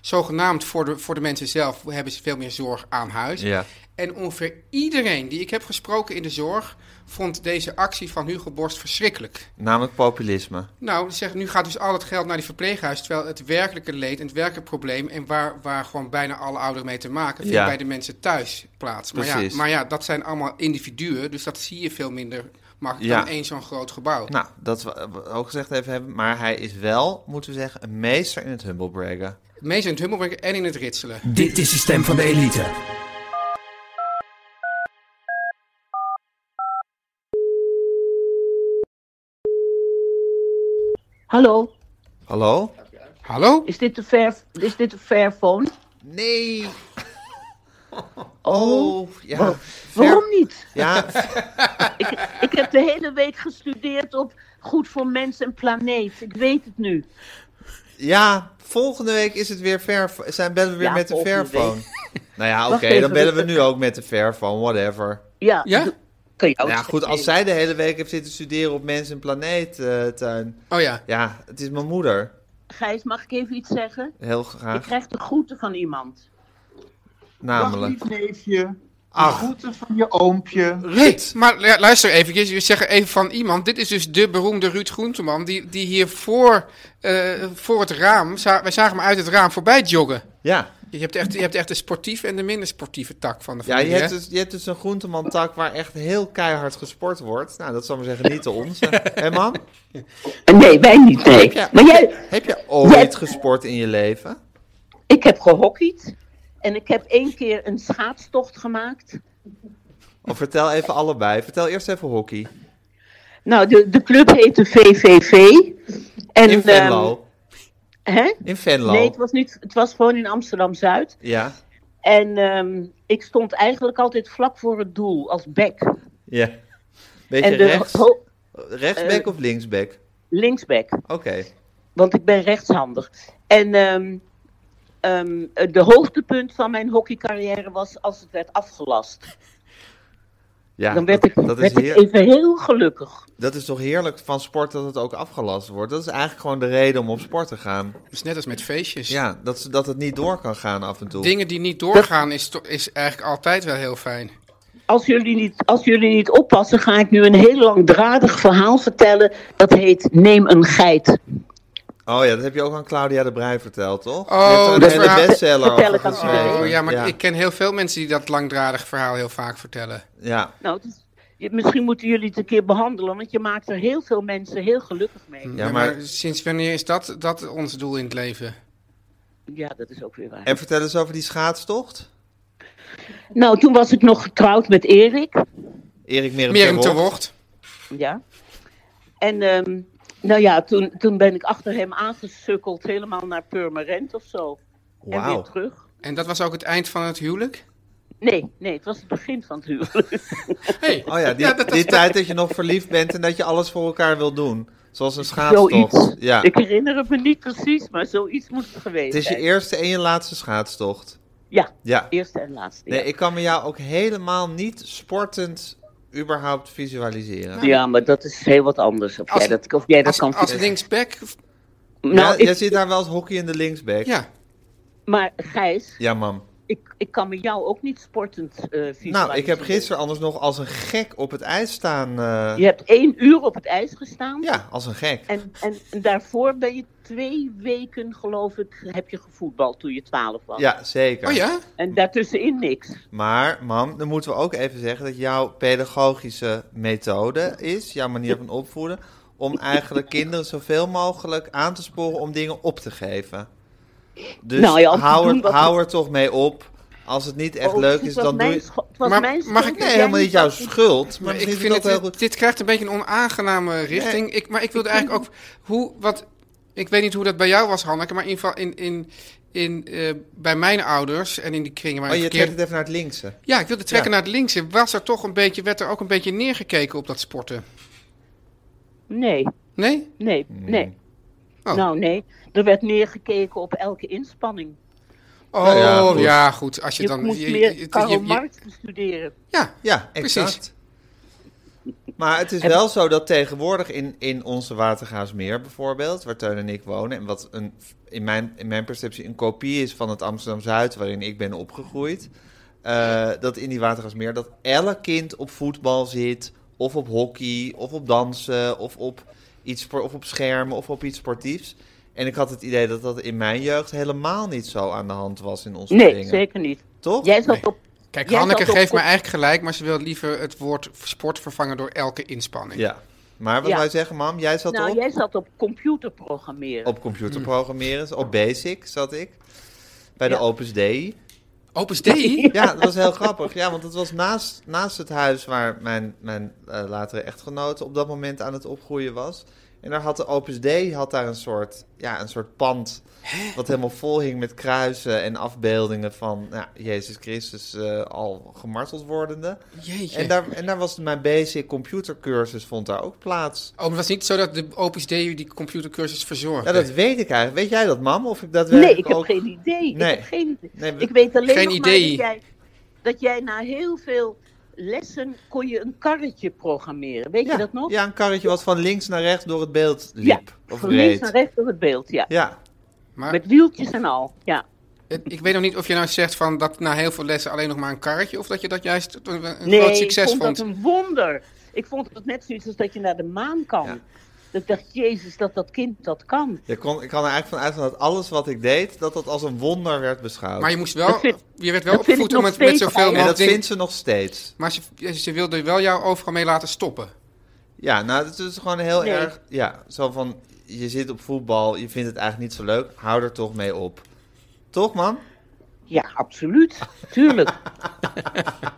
Speaker 3: zogenaamd voor de, voor de mensen zelf, hebben ze veel meer zorg aan huis.
Speaker 2: Ja.
Speaker 3: En ongeveer iedereen die ik heb gesproken in de zorg, vond deze actie van Hugo Borst verschrikkelijk.
Speaker 2: Namelijk populisme.
Speaker 3: Nou, ze zeggen, nu gaat dus al het geld naar die verpleeghuis. Terwijl het werkelijke leed en het werkelijke probleem. en waar, waar gewoon bijna alle ouderen mee te maken. vindt
Speaker 2: Ja.
Speaker 3: bij de mensen thuis plaats. Maar ja,
Speaker 2: Precies.
Speaker 3: maar ja, dat zijn allemaal individuen. Dus dat zie je veel minder makkelijk
Speaker 2: Ja.
Speaker 3: dan één zo'n groot gebouw.
Speaker 2: Nou, dat we we ook gezegd even hebben. Maar hij is wel, moeten we zeggen, een meester in het Humblebraggen.
Speaker 3: Meest in het hummelbrengen en in het ritselen.
Speaker 4: Dit is de stem van de elite.
Speaker 6: Hallo,
Speaker 2: Hallo?
Speaker 3: Hallo?
Speaker 6: is dit de ver, is dit de verfoon?
Speaker 2: Nee!
Speaker 6: Oh,
Speaker 2: Oh, ja.
Speaker 6: wa-
Speaker 2: ver-
Speaker 6: waarom niet?
Speaker 2: Ja,
Speaker 6: Ik heb de hele week gestudeerd op goed voor mens en planeet. Ik weet het nu.
Speaker 2: Ja, volgende week is het weer ver, zijn bellen we weer
Speaker 6: Ja,
Speaker 2: met de
Speaker 6: volgende
Speaker 2: Fairphone. Nou ja, oké,
Speaker 6: Wacht even,
Speaker 2: dan bellen we
Speaker 6: dat-
Speaker 2: nu ook met de Fairphone, whatever.
Speaker 6: Ja,
Speaker 3: Ja?
Speaker 6: d- kan je ook
Speaker 2: Nou ja,
Speaker 6: zeggen.
Speaker 2: goed, als zij de hele week heeft zitten studeren op Mens en Planeet, eh, Tuin.
Speaker 3: Oh ja.
Speaker 2: Ja, het is mijn moeder.
Speaker 6: Gijs, mag ik even iets zeggen?
Speaker 2: Heel
Speaker 6: Ik
Speaker 2: graag,
Speaker 6: krijg de groeten van iemand.
Speaker 7: Dag
Speaker 2: namelijk.
Speaker 7: lief neefje.
Speaker 2: Ach,
Speaker 7: Groeten van je oompje.
Speaker 2: Ruud.
Speaker 3: Maar lu- luister eventjes, je zegt even van iemand. Dit is dus de beroemde Ruud Groenteman, die, die hier voor, eh, voor het raam, za- wij zagen hem uit het raam voorbij joggen.
Speaker 2: Ja,
Speaker 3: Je hebt echt, je hebt echt de sportieve en de minder sportieve tak van de
Speaker 2: ja
Speaker 3: familie.
Speaker 2: je, hebt
Speaker 3: hè?
Speaker 2: dus, je hebt dus een groenteman-tak waar echt heel keihard gesport wordt. Nou, dat zal maar zeggen niet de onze. Hé man,
Speaker 6: Nee, wij niet, nee.
Speaker 2: Ja.
Speaker 6: Maar jij,
Speaker 2: heb je ooit gesport in je leven?
Speaker 6: ik heb gehockeyd. En ik heb één keer een schaatstocht gemaakt.
Speaker 2: Of vertel even allebei. Vertel eerst even hockey.
Speaker 6: Nou, de, de club heette VVV.
Speaker 2: In
Speaker 6: En, ehm,
Speaker 2: Venlo.
Speaker 6: hè?
Speaker 2: In Venlo.
Speaker 6: Nee, het was, niet, het was gewoon in Amsterdam-Zuid.
Speaker 2: Ja.
Speaker 6: En ehm, ik stond eigenlijk altijd vlak voor het doel, als back.
Speaker 2: Ja. Beetje
Speaker 6: En de
Speaker 2: rechts,
Speaker 6: ho-
Speaker 2: rechtsback of linksback?
Speaker 6: linksback,
Speaker 2: Oké.
Speaker 6: want ik ben rechtshandig. En ehm, ehm, de hoogtepunt van mijn hockeycarrière was als het werd afgelast.
Speaker 2: Ja,
Speaker 6: Dan werd,
Speaker 2: dat,
Speaker 6: ik,
Speaker 2: dat
Speaker 6: werd
Speaker 2: is
Speaker 6: ik
Speaker 2: heer-
Speaker 6: even heel gelukkig.
Speaker 2: dat is toch heerlijk van sport dat het ook afgelast wordt. Dat is eigenlijk gewoon de reden om op sport te gaan.
Speaker 3: Dat is Dus net als met feestjes.
Speaker 2: Ja, dat, ze- dat het niet door kan gaan af en toe.
Speaker 3: Dingen die niet doorgaan is, to- is eigenlijk altijd wel heel fijn.
Speaker 6: Als jullie, niet, als jullie niet oppassen, ga ik nu een heel langdradig verhaal vertellen. Dat heet Neem een geit.
Speaker 2: Oh ja, dat heb je ook aan Claudia de Brij verteld, toch?
Speaker 3: Oh,
Speaker 2: Je hebt er een
Speaker 3: dat
Speaker 2: hele
Speaker 3: verhaal-
Speaker 2: bestseller
Speaker 6: Vertel
Speaker 2: over
Speaker 6: ik aan
Speaker 2: geschreven.
Speaker 3: Oh ja, maar ik ken heel veel mensen die dat langdradig verhaal heel vaak vertellen.
Speaker 2: Ja,
Speaker 6: Nou, het is- je- misschien moeten jullie het een keer behandelen, want je maakt er heel veel mensen heel gelukkig mee.
Speaker 2: ja,
Speaker 3: Ja,
Speaker 2: maar...
Speaker 3: maar... sinds wanneer is dat, dat ons doel in het leven?
Speaker 6: Ja, dat is ook weer waar.
Speaker 2: En vertel eens over die schaatstocht.
Speaker 6: Nou, toen was ik nog getrouwd met Erik.
Speaker 2: Erik Merem
Speaker 3: Meer een
Speaker 2: ter
Speaker 3: te
Speaker 2: Wort.
Speaker 3: woord.
Speaker 6: Ja. En ehm, nou ja, toen, toen ben ik achter hem aangesukkeld, helemaal naar Purmerend of zo. En weer
Speaker 2: Wauw.
Speaker 6: terug.
Speaker 3: En dat was ook het eind van het huwelijk?
Speaker 6: Nee, nee, het was het begin van het huwelijk.
Speaker 3: Hey.
Speaker 2: Oh ja, die,
Speaker 3: Ja, dat-
Speaker 2: die tijd dat je nog verliefd bent en dat je alles voor elkaar wil doen. Zoals een schaatstocht.
Speaker 6: zoiets.
Speaker 2: Ja.
Speaker 6: Ik herinner het me niet precies, maar zoiets moet het geweest
Speaker 2: Het is je
Speaker 6: zijn.
Speaker 2: eerste en je laatste schaatstocht.
Speaker 6: Ja,
Speaker 2: Ja.
Speaker 6: eerste en laatste.
Speaker 2: Nee,
Speaker 6: ja.
Speaker 2: ik kan me jou ook helemaal niet sportend überhaupt visualiseren.
Speaker 6: Ja, maar dat is heel wat anders. Of
Speaker 3: Als-
Speaker 6: jij dat, of jij dat
Speaker 3: Als,
Speaker 6: kan
Speaker 3: als
Speaker 6: vinden.
Speaker 3: linksback?
Speaker 6: Nou,
Speaker 2: ja, jij
Speaker 6: ik-
Speaker 2: zit daar wel als hockey in de linksback.
Speaker 3: Ja.
Speaker 6: Maar Gijs,
Speaker 2: Ja, mam.
Speaker 6: ik, ik kan me jou ook niet sportend eh visualiseren.
Speaker 2: Nou, ik heb gisteren anders nog als een gek op het ijs staan. eh,
Speaker 6: Je hebt één uur op het ijs gestaan.
Speaker 2: ja, als een gek.
Speaker 6: En, en daarvoor ben je twee weken, geloof ik, heb je gevoetbald toen je twaalf was.
Speaker 2: Ja, zeker.
Speaker 3: Oh ja?
Speaker 6: En daartussenin niks.
Speaker 2: Maar, mam, dan moeten we ook even zeggen dat jouw pedagogische methode is, jouw manier van opvoeden, om eigenlijk kinderen zoveel mogelijk aan te sporen om dingen op te geven. Dus
Speaker 6: Nou ja, om te
Speaker 2: hou,
Speaker 6: doen
Speaker 2: er,
Speaker 6: wat-
Speaker 2: hou er toch mee op. Als het niet echt
Speaker 6: Oh,
Speaker 2: leuk
Speaker 6: het
Speaker 2: is,
Speaker 6: was
Speaker 2: dan doe
Speaker 6: mijn
Speaker 2: je...
Speaker 6: scho- het was
Speaker 3: Maar
Speaker 6: mijn
Speaker 3: mag ik-
Speaker 6: schuld dat
Speaker 2: Nee,
Speaker 6: jij
Speaker 2: helemaal niet jouw schuld. Maar
Speaker 3: Maar ik
Speaker 2: misschien
Speaker 3: vind het,
Speaker 2: wel
Speaker 3: dit-
Speaker 2: goed.
Speaker 3: dit krijgt een beetje een onaangename richting. Ik, maar ik wilde eigenlijk ook, hoe, wat, ik weet niet hoe dat bij jou was, Hanneke, maar in ieder geval in, in, in, eh, bij mijn ouders en in die kringen waar
Speaker 2: Oh,
Speaker 3: ik
Speaker 2: je trekt het
Speaker 3: verkeerd-
Speaker 2: even naar het linkse.
Speaker 3: Ja, ik wilde trekken
Speaker 2: Ja.
Speaker 3: naar het linkse. Was er toch een beetje, werd er ook een beetje neergekeken op dat sporten?
Speaker 6: Nee,
Speaker 3: Nee?
Speaker 6: nee,
Speaker 2: Hmm.
Speaker 6: nee.
Speaker 3: Oh.
Speaker 6: Nou, nee. Er werd neergekeken op elke inspanning.
Speaker 3: Oh
Speaker 2: Nou ja,
Speaker 3: ja,
Speaker 2: goed.
Speaker 3: goed. Als je,
Speaker 6: Je,
Speaker 3: dan.
Speaker 6: moest
Speaker 3: je-
Speaker 6: meer
Speaker 3: je- je-
Speaker 6: Karl
Speaker 3: je-
Speaker 6: Marx bestuderen.
Speaker 3: Ja,
Speaker 2: Ja,
Speaker 3: Precies.
Speaker 2: exact. Maar het is wel zo dat tegenwoordig in, in onze Watergaasmeer bijvoorbeeld, waar Teun en ik wonen, en wat een, in, mijn, in mijn perceptie een kopie is van het Amsterdam-Zuid waarin ik ben opgegroeid, eh, dat in die Watergaasmeer dat elk kind op voetbal zit, of op hockey, of op dansen, of op, iets, spor- of op schermen, of op iets sportiefs. En ik had het idee dat dat in mijn jeugd helemaal niet zo aan de hand was in onze
Speaker 6: Nee,
Speaker 2: dingen.
Speaker 6: zeker niet.
Speaker 2: Toch?
Speaker 6: Jij zat op...
Speaker 3: Kijk,
Speaker 6: Jij
Speaker 3: Hanneke
Speaker 6: zat op-
Speaker 3: geeft me
Speaker 6: op-
Speaker 3: eigenlijk gelijk, maar ze wil liever het woord sport vervangen door elke inspanning.
Speaker 2: Ja. Maar wat
Speaker 6: Ja.
Speaker 2: wou je zeggen, mam? Jij zat
Speaker 6: Nou,
Speaker 2: op?
Speaker 6: jij zat op computerprogrammeren.
Speaker 2: op computer programmeren. Op Basic zat ik. Bij de
Speaker 6: Mm. Ja.
Speaker 2: Opus Dei.
Speaker 3: Opus Dei?
Speaker 2: Ja, dat was heel grappig. Ja, want dat was naast, naast het huis waar mijn, mijn eh, latere echtgenote op dat moment aan het opgroeien was. En daar had de Opus Dei had daar een soort, ja, een soort pand. Wat helemaal vol hing met kruisen en afbeeldingen van nou, Jezus Christus eh, al gemarteld wordende.
Speaker 3: Jeetje.
Speaker 2: En daar, en daar was mijn basic computercursus, vond daar ook plaats.
Speaker 3: Oh, maar het was niet zo dat de Opus Dei die computercursus verzorgde?
Speaker 2: Ja, dat weet ik eigenlijk. Weet jij dat, mam? Of ik dat
Speaker 6: nee, ik heb
Speaker 2: ook-
Speaker 6: geen idee.
Speaker 2: Nee.
Speaker 6: Ik heb geen idee.
Speaker 2: Nee, we-
Speaker 6: Ik weet alleen
Speaker 3: Geen
Speaker 6: nog
Speaker 3: idee.
Speaker 6: maar dat jij, dat jij na heel veel lessen kon je een karretje programmeren. Weet
Speaker 2: ja,
Speaker 6: je dat nog?
Speaker 2: Ja, een karretje wat van links naar rechts door het beeld liep.
Speaker 6: Ja,
Speaker 2: of
Speaker 6: van links
Speaker 2: reed.
Speaker 6: naar rechts door het beeld, ja.
Speaker 2: Ja,
Speaker 3: maar,
Speaker 6: Met wieltjes en al, ja.
Speaker 3: het- ik weet nog niet of je nou zegt van dat na heel veel lessen alleen nog maar een karretje, of dat je dat juist een, een
Speaker 6: nee,
Speaker 3: groot succes
Speaker 6: ik vond
Speaker 3: vond.
Speaker 6: dat een wonder. Ik vond het net zoiets als dat je naar de maan kan.
Speaker 2: Ja.
Speaker 6: Dat ik dacht, jezus, dat dat kind dat kan.
Speaker 2: Je kon, ik kan er eigenlijk van uitgaan dat alles wat ik deed, dat dat als een wonder werd beschouwd.
Speaker 3: Maar je moest wel,
Speaker 6: Dat vind-
Speaker 3: je werd wel
Speaker 6: dat vind ik
Speaker 3: opgevoed om
Speaker 6: nog
Speaker 3: het met
Speaker 6: steeds
Speaker 3: zoveel
Speaker 6: al.
Speaker 2: en
Speaker 3: mogelijk
Speaker 2: dat
Speaker 3: dingen.
Speaker 2: vindt ze nog steeds.
Speaker 3: Maar ze, ze wilde wel jou overal mee laten stoppen.
Speaker 2: Ja, nou, het is gewoon heel
Speaker 6: Nee.
Speaker 2: erg. Ja, zo van je zit op voetbal, je vindt het eigenlijk niet zo leuk, hou er toch mee op. Toch, man?
Speaker 6: Ja, absoluut. Tuurlijk.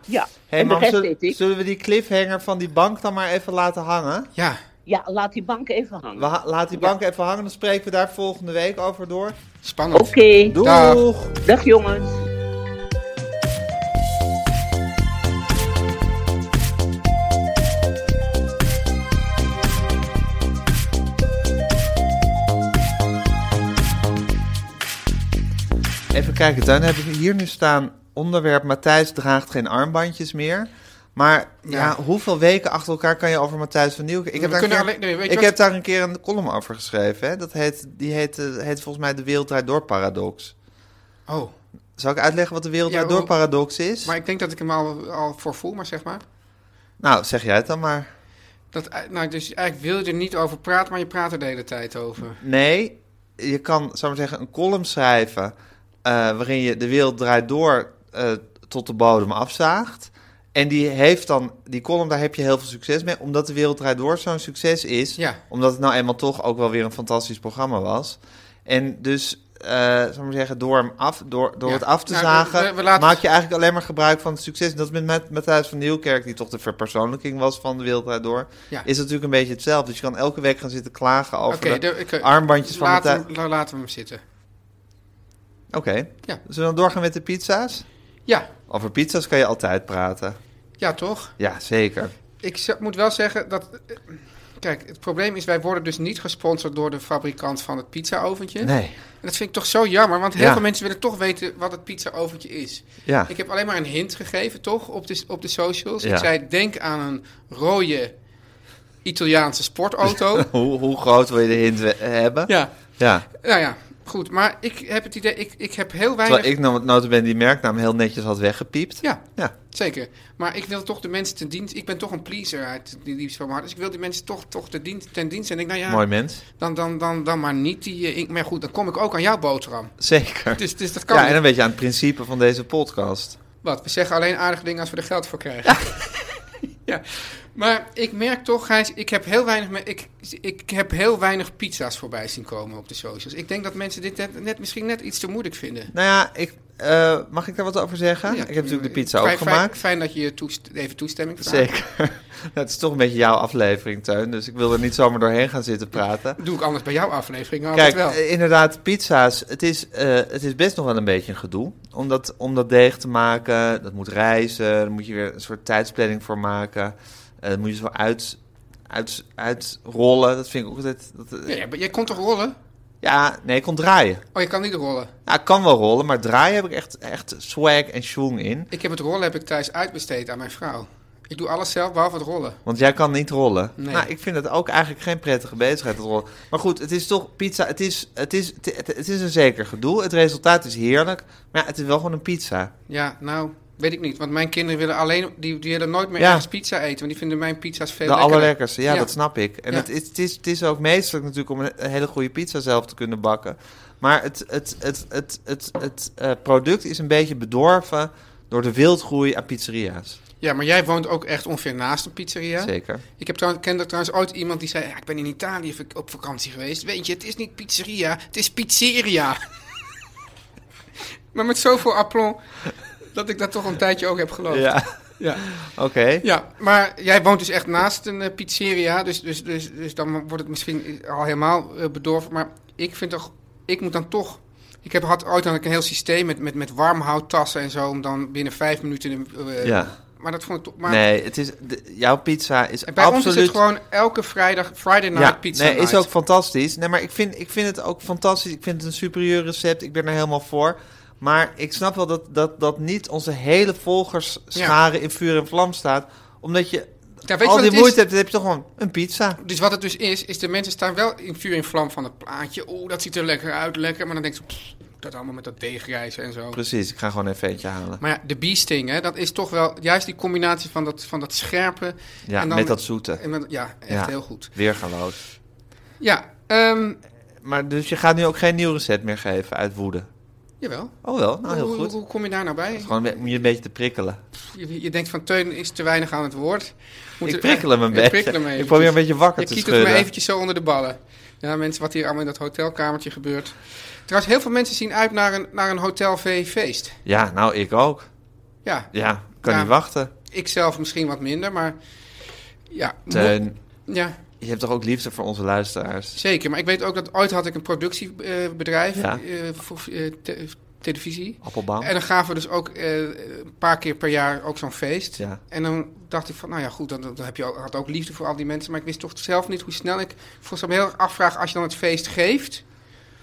Speaker 6: ja,
Speaker 2: Hey,
Speaker 6: en de
Speaker 2: man,
Speaker 6: rest
Speaker 2: zul-
Speaker 6: deed ik.
Speaker 2: zullen we die cliffhanger van die bank dan maar even laten hangen?
Speaker 3: Ja,
Speaker 6: Ja, laat die bank even hangen.
Speaker 2: We ha- laat die bank even hangen, dan spreken we daar volgende week over door.
Speaker 3: spannend.
Speaker 6: Oké,
Speaker 2: Doeg!
Speaker 3: Dag.
Speaker 6: dag jongens.
Speaker 2: Even kijken, dan hebben we hier nu staan onderwerp Matthijs draagt geen armbandjes meer. Maar ja.
Speaker 3: Ja.
Speaker 2: hoeveel weken achter elkaar kan je over Matthijs van Nieuwkerk? Ik,
Speaker 3: We
Speaker 2: heb daar, een
Speaker 3: kunnen
Speaker 2: keer,
Speaker 3: alleen- nee, weet je
Speaker 2: ik
Speaker 3: wat-
Speaker 2: heb daar een keer een column over geschreven. Hè? Dat heet, die heet, eh, heet volgens mij de Wereld Draait Door Paradox.
Speaker 3: Oh,
Speaker 2: Zal ik uitleggen wat de Wereld
Speaker 3: Ja,
Speaker 2: Draait Door
Speaker 3: hoe-
Speaker 2: Paradox is?
Speaker 3: maar ik denk dat ik hem al, al voor voel, maar zeg maar.
Speaker 2: Nou, zeg jij het dan maar.
Speaker 3: Dat, eh, nou, dus eigenlijk wil je er niet over praten, maar je praat er de hele tijd over.
Speaker 2: Nee, je kan, zou ik maar zeggen, een column schrijven... eh, waarin je de wereld draait door eh, tot de bodem afzaagt. En die heeft dan, die column, daar heb je heel veel succes mee... omdat de wereld draait door zo'n succes is.
Speaker 3: Ja.
Speaker 2: Omdat het nou eenmaal toch ook wel weer een fantastisch programma was. En dus... eh zou ik maar zeggen, door, hem af, door, door
Speaker 3: Ja.
Speaker 2: het af te
Speaker 3: Nou, we-
Speaker 2: zagen,
Speaker 3: we- we laten-
Speaker 2: maak je eigenlijk alleen maar gebruik van het succes. En dat is met Mat- Matthijs van Nieuwkerk, die toch de verpersoonlijking was van de wereld Draait door,
Speaker 3: Ja.
Speaker 2: is natuurlijk een beetje hetzelfde. Dus je kan elke week gaan zitten klagen over
Speaker 3: Oké,
Speaker 2: de-
Speaker 3: de- ik, eh,
Speaker 2: armbandjes van
Speaker 3: laten,
Speaker 2: Matthijs.
Speaker 3: we hem- laten we hem zitten.
Speaker 2: Oké.
Speaker 3: Ja.
Speaker 2: Zullen we dan doorgaan met de pizza's?
Speaker 3: Ja,
Speaker 2: Over pizza's kan je altijd praten.
Speaker 3: ja toch?
Speaker 2: Ja, zeker.
Speaker 3: Ik z- moet wel zeggen dat. eh, Kijk, het probleem is, wij worden dus niet gesponsord door de fabrikant van het pizza-oventje.
Speaker 2: Nee.
Speaker 3: En dat vind ik toch zo jammer, want heel
Speaker 2: Ja.
Speaker 3: veel mensen willen toch weten wat het pizza-oventje is.
Speaker 2: Ja.
Speaker 3: Ik heb alleen maar een hint gegeven, toch, op de, op de socials.
Speaker 2: Ja.
Speaker 3: Ik zei, denk aan een rode Italiaanse sportauto.
Speaker 2: Hoe, hoe groot wil je de hint we- hebben?
Speaker 3: ja.
Speaker 2: Ja.
Speaker 3: Nou ja, goed. Maar ik heb het idee, ik, ik heb heel weinig...
Speaker 2: Terwijl ik nou- notabene die merknaam heel netjes had weggepiept.
Speaker 3: Ja,
Speaker 2: Ja.
Speaker 3: Zeker. Maar ik wil toch de mensen ten dienst. Ik ben toch een pleaser uit die liefst van mijn hart. Dus ik wil die mensen toch, toch ten dienst, ten dienst. En ik, nou ja,
Speaker 2: Mooi mens.
Speaker 3: Dan, dan, dan, dan maar niet die... eh, ik, maar goed, dan kom ik ook aan jouw boterham.
Speaker 2: Zeker.
Speaker 3: Dus, dus dat kan
Speaker 2: Ja, en een
Speaker 3: niet.
Speaker 2: beetje aan het principe van deze podcast.
Speaker 3: Wat, we zeggen alleen aardige dingen als we er geld voor krijgen. ja. Maar ik merk toch, Gijs, ik heb, heel weinig, me- ik, ik heb heel weinig pizza's voorbij zien komen op de socials. Ik denk dat mensen dit net, net- misschien net iets te moeilijk vinden.
Speaker 2: Nou ja, ik, eh, mag ik daar wat over zeggen? ik heb natuurlijk de pizza ook
Speaker 3: Eh, Fijn- fijn-
Speaker 2: gemaakt.
Speaker 3: Fijn dat je je toest- even toestemming vraagt.
Speaker 2: Zeker. Nou, het is toch een beetje jouw aflevering, Teun. Dus ik wil er niet zomaar doorheen gaan zitten praten.
Speaker 3: Doe ik anders bij jouw aflevering altijd
Speaker 2: Kijk,
Speaker 3: wel.
Speaker 2: eh, inderdaad, pizza's. Het is, eh, het is best nog wel een beetje een gedoe. Om dat, om dat deeg te maken, dat moet rijzen. Daar moet je weer een soort tijdsplanning voor maken. Eh dat moet je zo uit, uit, uitrollen. Dat vind ik ook altijd... Dat, eh,
Speaker 3: Ja, ja, maar jij kon toch rollen?
Speaker 2: ja, nee, ik kon draaien.
Speaker 3: Oh, je kan niet rollen.
Speaker 2: Ja, ik kan wel rollen, maar draaien heb ik echt, echt swag en schoen in.
Speaker 3: Ik heb het rollen heb ik thuis uitbesteed aan mijn vrouw. Ik doe alles zelf, behalve het rollen.
Speaker 2: Want jij kan niet rollen.
Speaker 3: Nee.
Speaker 2: Nou, ik vind het ook eigenlijk geen prettige bezigheid, dat rollen. Maar goed, het is toch pizza. Het is, het is, het, het- het is een zeker gedoe. Het resultaat is heerlijk. Maar ja, het is wel gewoon een pizza.
Speaker 3: Ja, nou, weet ik niet. Want mijn kinderen willen alleen, die, die willen nooit meer
Speaker 2: Ja.
Speaker 3: ergens pizza eten. Want die vinden mijn pizza's veel
Speaker 2: de
Speaker 3: lekkerder.
Speaker 2: allerlekkerste, ja,
Speaker 3: Eh, Ja.
Speaker 2: dat snap ik. En
Speaker 3: Ja.
Speaker 2: het, is, het, is, het is ook meestelijk natuurlijk om een, een hele goede pizza zelf te kunnen bakken. Maar het, het, het, het, het, het, eh, product is een beetje bedorven door de wildgroei aan pizzeria's.
Speaker 3: Ja, maar jij woont ook echt ongeveer naast een pizzeria.
Speaker 2: Zeker.
Speaker 3: Ik heb trouwens, kende trouwens ooit iemand die zei, ja, ik ben in Italië vak- op vakantie geweest. Weet je, het is niet pizzeria, het is pizzeria. maar met zoveel aplomb dat ik dat toch een tijdje ook heb geloofd.
Speaker 2: Ja,
Speaker 3: ja.
Speaker 2: oké.
Speaker 3: Ja, maar jij woont dus echt naast een eh, pizzeria, dus, dus, dus, dus dan wordt het misschien al helemaal eh, bedorven. Maar ik vind toch, ik moet dan toch... Ik heb, had ooit dan een heel systeem met, met, met warmhouttassen en zo, om dan binnen vijf minuten... eh,
Speaker 2: Ja.
Speaker 3: Maar dat vond ik toch... Maar
Speaker 2: nee, het is, de- jouw pizza is
Speaker 3: en bij
Speaker 2: absoluut...
Speaker 3: ons is het gewoon elke vrijdag, Friday night pizza
Speaker 2: nee, is
Speaker 3: night.
Speaker 2: ook fantastisch. Nee, maar ik vind, ik vind het ook fantastisch. Ik vind het een superieur recept. Ik ben er helemaal voor. Maar ik snap wel dat, dat, dat niet onze hele volgersschare in vuur en vlam staat. Omdat je
Speaker 3: Ja, weet je
Speaker 2: al
Speaker 3: wat
Speaker 2: die
Speaker 3: het is?
Speaker 2: moeite hebt, dan heb je toch gewoon een pizza.
Speaker 3: Dus wat het dus is, is de mensen staan wel in vuur en vlam van het plaatje. Oeh, dat ziet er lekker uit, lekker. Maar dan denk je, dat allemaal met dat deegrijzen en zo.
Speaker 2: Precies, ik ga gewoon even eentje halen.
Speaker 3: Maar ja, de biesting, hè, dat is toch wel juist die combinatie van dat, van dat scherpe.
Speaker 2: Ja,
Speaker 3: en dan-
Speaker 2: met dat zoete.
Speaker 3: en met- ja, echt
Speaker 2: Ja.
Speaker 3: heel goed.
Speaker 2: Weergaloos.
Speaker 3: Ja, ehm,
Speaker 2: Maar dus je gaat nu ook geen nieuw recept meer geven uit woede.
Speaker 3: jawel.
Speaker 2: Oh wel, nou heel
Speaker 3: hoe,
Speaker 2: goed.
Speaker 3: hoe- hoe kom je daar nou bij?
Speaker 2: Gewoon om je een beetje te prikkelen.
Speaker 3: Je, je denkt van Teun is te weinig aan het woord. Moet
Speaker 2: Ik
Speaker 3: er-
Speaker 2: prikkel hem een
Speaker 3: Ik
Speaker 2: beetje.
Speaker 3: prikkel hem
Speaker 2: Ik
Speaker 3: eventjes.
Speaker 2: probeer een beetje wakker
Speaker 3: Je
Speaker 2: te
Speaker 3: kiet het me
Speaker 2: schudden.
Speaker 3: eventjes zo onder de ballen. Ja, mensen, wat hier allemaal in dat hotelkamertje gebeurt. Trouwens, heel veel mensen zien uit naar een, naar een hotel feest
Speaker 2: Ja, nou ik ook.
Speaker 3: Ja,
Speaker 2: Ja, kan
Speaker 3: Ja.
Speaker 2: niet wachten.
Speaker 3: ik zelf misschien wat minder, maar... Ja, mo-
Speaker 2: Teun,
Speaker 3: ja,
Speaker 2: je hebt toch ook liefde voor onze luisteraars?
Speaker 3: zeker. Maar ik weet ook dat ooit had ik een productiebedrijf
Speaker 2: Ja.
Speaker 3: voor eh, te- televisie.
Speaker 2: Appelbaum?
Speaker 3: En dan gaven we dus ook eh, een paar keer per jaar ook zo'n feest.
Speaker 2: Ja.
Speaker 3: En dan dacht ik van, nou ja, goed, dan, dan heb je ook, had ook liefde voor al die mensen. Maar ik wist toch zelf niet hoe snel ik... Volgens mij heel erg afvraag, als je dan het feest geeft...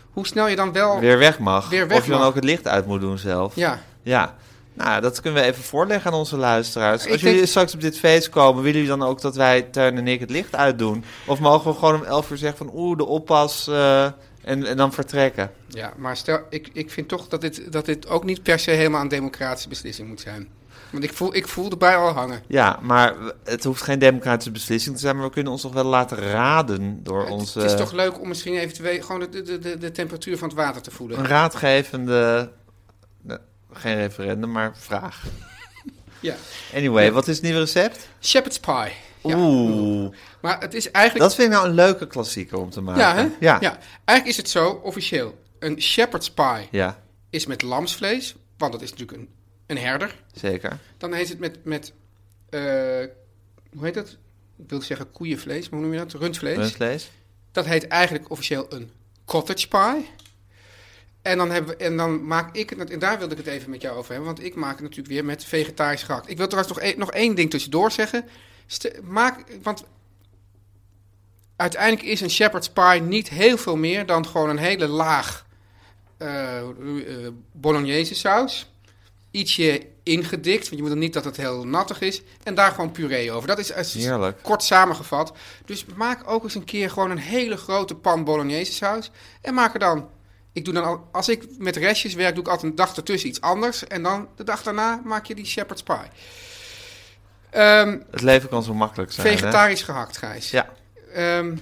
Speaker 3: Hoe snel je dan wel...
Speaker 2: Weer weg mag.
Speaker 3: Weer weg
Speaker 2: of je dan
Speaker 3: mag.
Speaker 2: ook het licht uit moet doen zelf.
Speaker 3: Ja,
Speaker 2: Ja. Nou, dat kunnen we even voorleggen aan onze luisteraars.
Speaker 3: Ik
Speaker 2: Als jullie
Speaker 3: denk-
Speaker 2: straks op dit feest komen, willen jullie dan ook dat wij, Teun en ik, het licht uitdoen? Of mogen we gewoon om 11 uur zeggen van oeh, de oppas eh, en, en dan vertrekken?
Speaker 3: ja maar stel, ik, ik vind toch dat dit, dat dit ook niet per se helemaal een democratische beslissing moet zijn. Want ik voel, ik voel de bui al hangen.
Speaker 2: Ja, maar w- het hoeft geen democratische beslissing te zijn, maar we kunnen ons toch wel laten raden door
Speaker 3: Het-
Speaker 2: onze
Speaker 3: Het is toch leuk om misschien eventueel gewoon de, de, de, de temperatuur van het water te voelen.
Speaker 2: een raadgevende, nou, geen referendum, maar vraag.
Speaker 3: Ja.
Speaker 2: Anyway,
Speaker 3: Ja.
Speaker 2: wat is het nieuwe recept?
Speaker 3: Shepherd's pie. Ja.
Speaker 2: Oeh,
Speaker 3: Maar het is eigenlijk...
Speaker 2: dat vind ik nou een leuke klassieker om te maken.
Speaker 3: Ja, hè?
Speaker 2: Ah, Ja.
Speaker 3: Eigenlijk is het zo, officieel. Een shepherd's pie
Speaker 2: Ja,
Speaker 3: is met lamsvlees, want dat is natuurlijk een, een herder.
Speaker 2: zeker.
Speaker 3: Dan heet het met, met eh, hoe heet dat? Ik wil zeggen koeienvlees, maar hoe noem je dat? Rundvlees.
Speaker 2: Rundvlees.
Speaker 3: Dat heet eigenlijk officieel een cottage pie. En dan, hebben we, en dan maak ik het, en daar wilde ik het even met jou over hebben, want ik maak het natuurlijk weer met vegetarisch gehakt. Ik wil trouwens nog, één- nog één ding tussendoor zeggen. Ste- maak, want uiteindelijk is een shepherd's pie niet heel veel meer dan gewoon een hele laag eh, eh, bolognese saus. Ietsje ingedikt, want je moet dan niet dat het heel nattig is. En daar gewoon puree over. Dat is eh,
Speaker 2: Heerlijk.
Speaker 3: kort samengevat. Dus maak ook eens een keer gewoon een hele grote pan bolognese saus. En maak er dan... Ik doe dan al, als ik met restjes werk, doe ik altijd een dag ertussen iets anders. En dan de dag daarna maak je die shepherd's pie. Ehm,
Speaker 2: Het leven kan zo makkelijk zijn. hè?
Speaker 3: vegetarisch gehakt, Gijs.
Speaker 2: Ja.
Speaker 3: Ehm,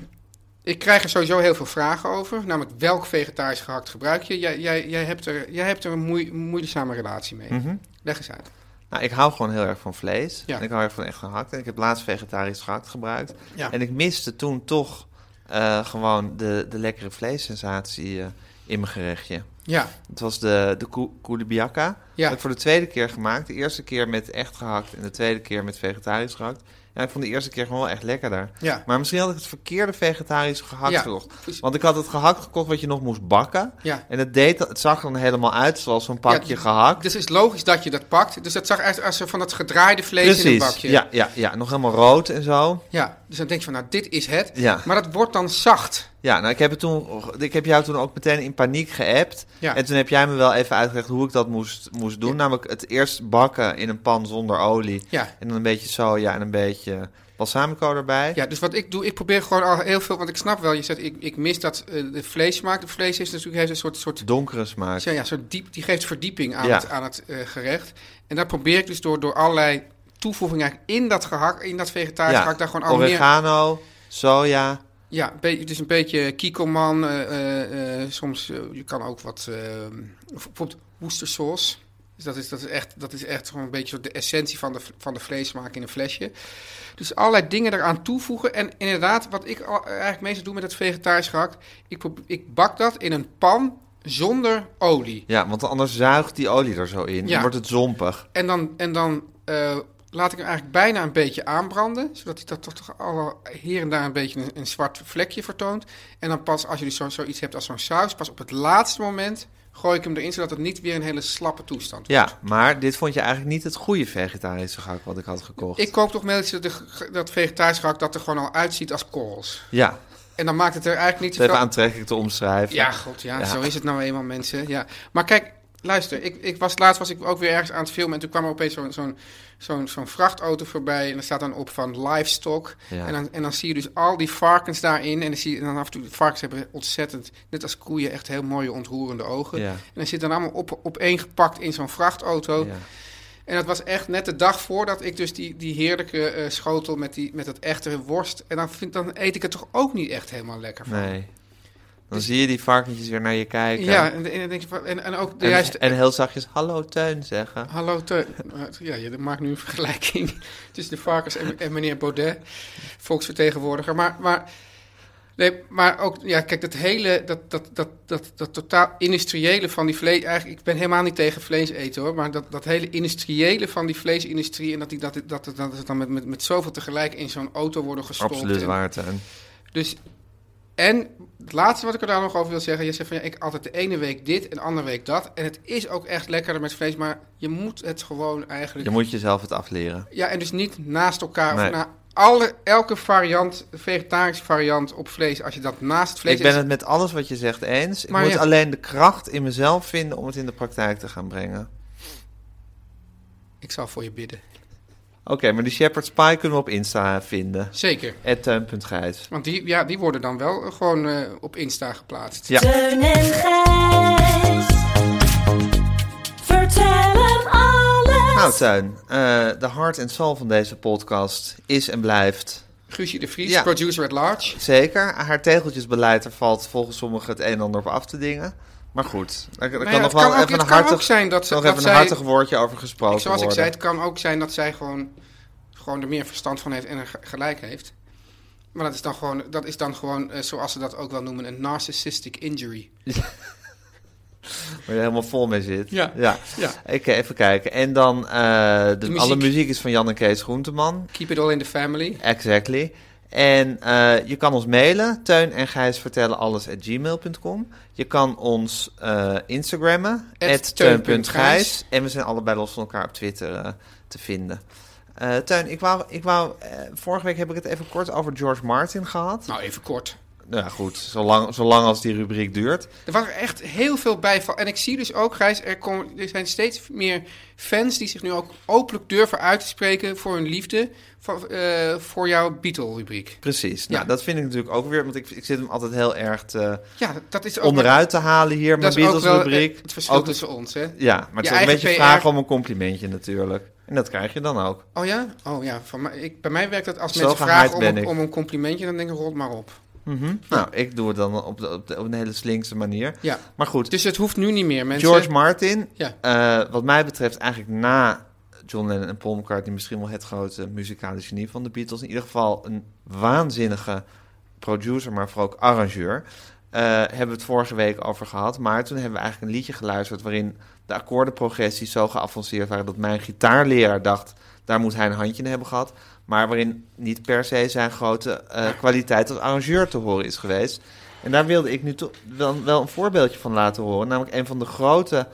Speaker 3: ik krijg er sowieso heel veel vragen over. Namelijk, welk vegetarisch gehakt gebruik je? Jij, jij, jij, hebt, er, jij hebt er een moei- moeizame relatie mee.
Speaker 2: Hm.
Speaker 3: Leg eens uit.
Speaker 2: Mhm. Nou, ik hou gewoon heel erg van vlees.
Speaker 3: Ja.
Speaker 2: En ik hou erg van echt gehakt. En ik heb laatst vegetarisch gehakt gebruikt.
Speaker 3: Ja.
Speaker 2: En ik miste toen toch eh, gewoon de, de lekkere vleessensatie eh, in mijn gerechtje.
Speaker 3: Ja,
Speaker 2: Het was de, de koe- koulibiaka.
Speaker 3: Ja.
Speaker 2: Heb ik voor de tweede keer gemaakt. De eerste keer met echt gehakt en de tweede keer met vegetarisch gehakt. Ja, ik vond de eerste keer gewoon wel echt lekkerder.
Speaker 3: Ja.
Speaker 2: Maar misschien had ik het verkeerde vegetarisch gehakt
Speaker 3: Ja. Dus,
Speaker 2: gekocht. Want ik had het gehakt gekocht wat je nog moest bakken.
Speaker 3: Ja.
Speaker 2: En het, deed, het zag er dan helemaal uit zoals zo'n pakje
Speaker 3: Ja,
Speaker 2: gehakt.
Speaker 3: dus het is logisch dat je dat pakt. Dus dat zag uit als van dat gedraaide vlees in een bakje.
Speaker 2: Ja, ja, ja, nog helemaal rood en zo.
Speaker 3: Ja, dus dan denk je van, nou, dit is het.
Speaker 2: Ja.
Speaker 3: Maar dat wordt dan zacht.
Speaker 2: Ja, nou, ik heb, het toen, ik heb jou toen ook meteen in paniek geappt.
Speaker 3: Ja.
Speaker 2: En toen heb jij me wel even uitgelegd hoe ik dat moest, moest doen.
Speaker 3: Ja.
Speaker 2: Namelijk het eerst bakken in een pan zonder olie.
Speaker 3: Ja.
Speaker 2: En dan een beetje soja en een beetje balsamico erbij.
Speaker 3: Ja, dus wat ik doe, ik probeer gewoon al heel veel, want ik snap wel, je zegt, ik, ik mis dat eh, de vleessmaak. De vlees is natuurlijk heeft een soort, soort
Speaker 2: Donkere smaak.
Speaker 3: Ja, ja soort diep, die geeft verdieping aan
Speaker 2: Ja.
Speaker 3: het, aan het eh, gerecht. En dat probeer ik dus door, door allerlei toevoegingen eigenlijk in dat gehakt, in dat vegetarisch
Speaker 2: Ja,
Speaker 3: gehakt, daar gewoon al meer...
Speaker 2: Oregano, soja.
Speaker 3: Ja, een beetje- dus een beetje kikkelman, eh, eh, eh, soms, eh, je kan ook wat, eh, bijvoorbeeld woestersaus. Dus dat is, dat is echt, dat is echt gewoon een beetje soort de essentie van de, v- van de vleesmaak in een flesje. Dus allerlei dingen eraan toevoegen. En inderdaad, wat ik al- eh, eigenlijk meestal doe met het vegetarisch gehakt, ik, probe- ik bak dat in een pan zonder olie.
Speaker 2: Ja, want anders zuigt die olie er zo in.
Speaker 3: Ja.
Speaker 2: Dan wordt het zompig.
Speaker 3: En dan, en dan eh, laat ik hem eigenlijk bijna een beetje aanbranden. Zodat hij dat toch- toch alle hier en daar een beetje een, een zwart vlekje vertoont. En dan pas als je dus zo, zoiets hebt als zo'n saus, pas op het laatste moment gooi ik hem erin. Zodat het niet weer een hele slappe toestand wordt.
Speaker 2: Ja, maar dit vond je eigenlijk niet het goede vegetarische gehakt wat ik had gekocht.
Speaker 3: Ik koop toch meestal de ge- dat vegetarisch gehakt dat er gewoon al uitziet als korrels.
Speaker 2: Ja,
Speaker 3: En dan maakt het er eigenlijk niet
Speaker 2: het is even
Speaker 3: zoveel...
Speaker 2: aantrekkelijk te omschrijven.
Speaker 3: Ja, god, ja,
Speaker 2: Ja.
Speaker 3: zo is het nou eenmaal, mensen. Ja. Maar kijk, Luister, ik, ik was, laatst was ik ook weer ergens aan het filmen en toen kwam er opeens zo'n zo'n zo'n zo'n vrachtauto voorbij en er staat dan op van livestock.
Speaker 2: Ja.
Speaker 3: En, dan, en dan zie je dus al die varkens daarin en dan zie je en dan af en toe, de varkens hebben ontzettend, net als koeien, echt heel mooie ontroerende ogen.
Speaker 2: Ja.
Speaker 3: En dan zit dan allemaal op, opeengepakt in zo'n vrachtauto.
Speaker 2: Ja.
Speaker 3: En dat was echt net de dag voordat ik dus die, die heerlijke eh, schotel met, die, met dat echte worst. En dan, vind, dan eet ik het toch ook niet echt helemaal lekker van.
Speaker 2: Nee. Dan zie je die varkentjes weer naar je kijken.
Speaker 3: Dus- Ja, en, en, dan denk je van- en, en ook de
Speaker 2: en,
Speaker 3: juiste...
Speaker 2: en heel zachtjes hallo tuin zeggen.
Speaker 3: Hallo Teun. Maar, Ja, je maakt nu een vergelijking tussen de varkens en, en meneer Baudet, volksvertegenwoordiger. Maar, maar, nee, maar ook, ja, kijk, dat hele, dat, dat, dat, dat, dat totaal industriële van die vlees... Eigenlijk, ik ben helemaal niet tegen vlees eten, hoor. Maar dat, dat hele industriële van die vleesindustrie... en dat, die, dat, dat, dat, dat het dan met, met, met zoveel tegelijk in zo'n auto worden gestopt.
Speaker 2: Absoluut
Speaker 3: en-
Speaker 2: waar, Tuin.
Speaker 3: dus, en het laatste wat ik er daar nog over wil zeggen. Je zegt van ja, ik altijd de ene week dit en de andere week dat. En het is ook echt lekkerder met vlees, maar je moet het gewoon eigenlijk...
Speaker 2: Je moet jezelf het afleren.
Speaker 3: Ja, en dus niet naast elkaar
Speaker 2: Nee.
Speaker 3: of na alle, elke variant, vegetarische variant op vlees. Als je dat naast vlees...
Speaker 2: ik ben
Speaker 3: is-
Speaker 2: het met alles wat je zegt eens. Ik
Speaker 3: Maar
Speaker 2: moet
Speaker 3: ja.
Speaker 2: alleen de kracht in mezelf vinden om het in de praktijk te gaan brengen.
Speaker 3: Ik zal voor je bidden.
Speaker 2: Oké, maar die shepherd's pie kunnen we op Insta vinden.
Speaker 3: Zeker.
Speaker 2: Tuin.gijs.
Speaker 3: Want die, ja, die worden dan wel eh, gewoon eh, op Insta geplaatst.
Speaker 2: Ja.
Speaker 5: Teun en Gijs. Vertel hem alles.
Speaker 2: Nou, Tuin, eh, de hart en soul van deze podcast is en blijft.
Speaker 3: Guusje de Vries,
Speaker 2: Ja.
Speaker 3: producer at large.
Speaker 2: Zeker, haar tegeltjesbeleid, er valt volgens sommigen het een en ander op af te dingen. Maar goed, daar, daar
Speaker 3: Nou
Speaker 2: kan
Speaker 3: ja,
Speaker 2: nog
Speaker 3: het
Speaker 2: wel
Speaker 3: kan ook-
Speaker 2: even
Speaker 3: het
Speaker 2: een
Speaker 3: kan
Speaker 2: hartig,
Speaker 3: ook zijn dat ze-
Speaker 2: nog
Speaker 3: dat
Speaker 2: even
Speaker 3: zij-
Speaker 2: een hartig woordje over gesproken
Speaker 3: Zoals ik
Speaker 2: worden.
Speaker 3: zei, het kan ook zijn dat zij gewoon, gewoon er meer verstand van heeft en er ge- gelijk heeft. Maar dat is dan gewoon, dat is dan gewoon eh, zoals ze dat ook wel noemen, een narcissistic injury.
Speaker 2: Waar je helemaal vol mee zit.
Speaker 3: Ja.
Speaker 2: ja.
Speaker 3: Ja.
Speaker 2: Ik, eh, even kijken. En dan, eh, de,
Speaker 3: muziek.
Speaker 2: alle muziek is van Jan en Kees Groenteman.
Speaker 3: Keep it all in the family.
Speaker 2: Exactly. En eh, je kan ons mailen, teun en gijs vertellen alles at gmail.com. Je kan ons eh, instagrammen,
Speaker 3: At
Speaker 2: at teun.gijs. En we zijn allebei los van elkaar op Twitter eh, te vinden. Eh Teun, ik wou, ik wou, eh, vorige week heb ik het even kort over George Martin gehad.
Speaker 3: Nou, even kort.
Speaker 2: Nou ja, goed, zolang, zolang als die rubriek duurt.
Speaker 3: Er was echt heel veel bijval. En ik zie dus ook, Gijs, er, komen, er zijn steeds meer fans die zich nu ook openlijk durven uit te spreken voor hun liefde van, eh, voor jouw Beatle-rubriek.
Speaker 2: Precies. Nou,
Speaker 3: Ja.
Speaker 2: dat vind ik natuurlijk ook weer, want ik, ik zit hem altijd heel erg te,
Speaker 3: Ja, dat- dat is ook,
Speaker 2: onderuit te halen hier, mijn
Speaker 3: dat is ook wel
Speaker 2: Beatles-rubriek.
Speaker 3: eh, het verschil
Speaker 2: Ook-
Speaker 3: tussen ons, hè?
Speaker 2: Ja, maar het
Speaker 3: Je
Speaker 2: is ook een
Speaker 3: eigen
Speaker 2: beetje
Speaker 3: PR.
Speaker 2: vragen om een complimentje natuurlijk. En dat krijg je dan ook.
Speaker 3: Oh ja? Oh ja, van mij, ik, bij mij werkt dat als
Speaker 2: Zo
Speaker 3: mensen
Speaker 2: gehaaid
Speaker 3: vragen om,
Speaker 2: ben
Speaker 3: een-
Speaker 2: ik.
Speaker 3: om een complimentje, dan denk ik, rot maar op. Mhm.
Speaker 2: Nou, ik doe het dan op, de, op, de- op een hele slinkse manier.
Speaker 3: Ja.
Speaker 2: Maar goed,
Speaker 3: Dus het hoeft nu niet meer, mensen. Oh,
Speaker 2: George Martin,
Speaker 3: Ja.
Speaker 2: eh, wat mij betreft eigenlijk na John Lennon en Paul McCartney... misschien wel het grote muzikale genie van de Beatles. In ieder geval een waanzinnige producer, maar vooral ook arrangeur. Eh, hebben we het vorige week over gehad. Maar toen hebben we eigenlijk een liedje geluisterd... waarin de akkoordenprogressies zo geavanceerd waren... dat mijn gitaarleraar dacht, daar moet hij een handje in hebben gehad. Maar waarin niet per se zijn grote eh, kwaliteit als arrangeur te horen is geweest. En daar wilde ik nu toch wel, wel een voorbeeldje van laten horen. Namelijk een van de grote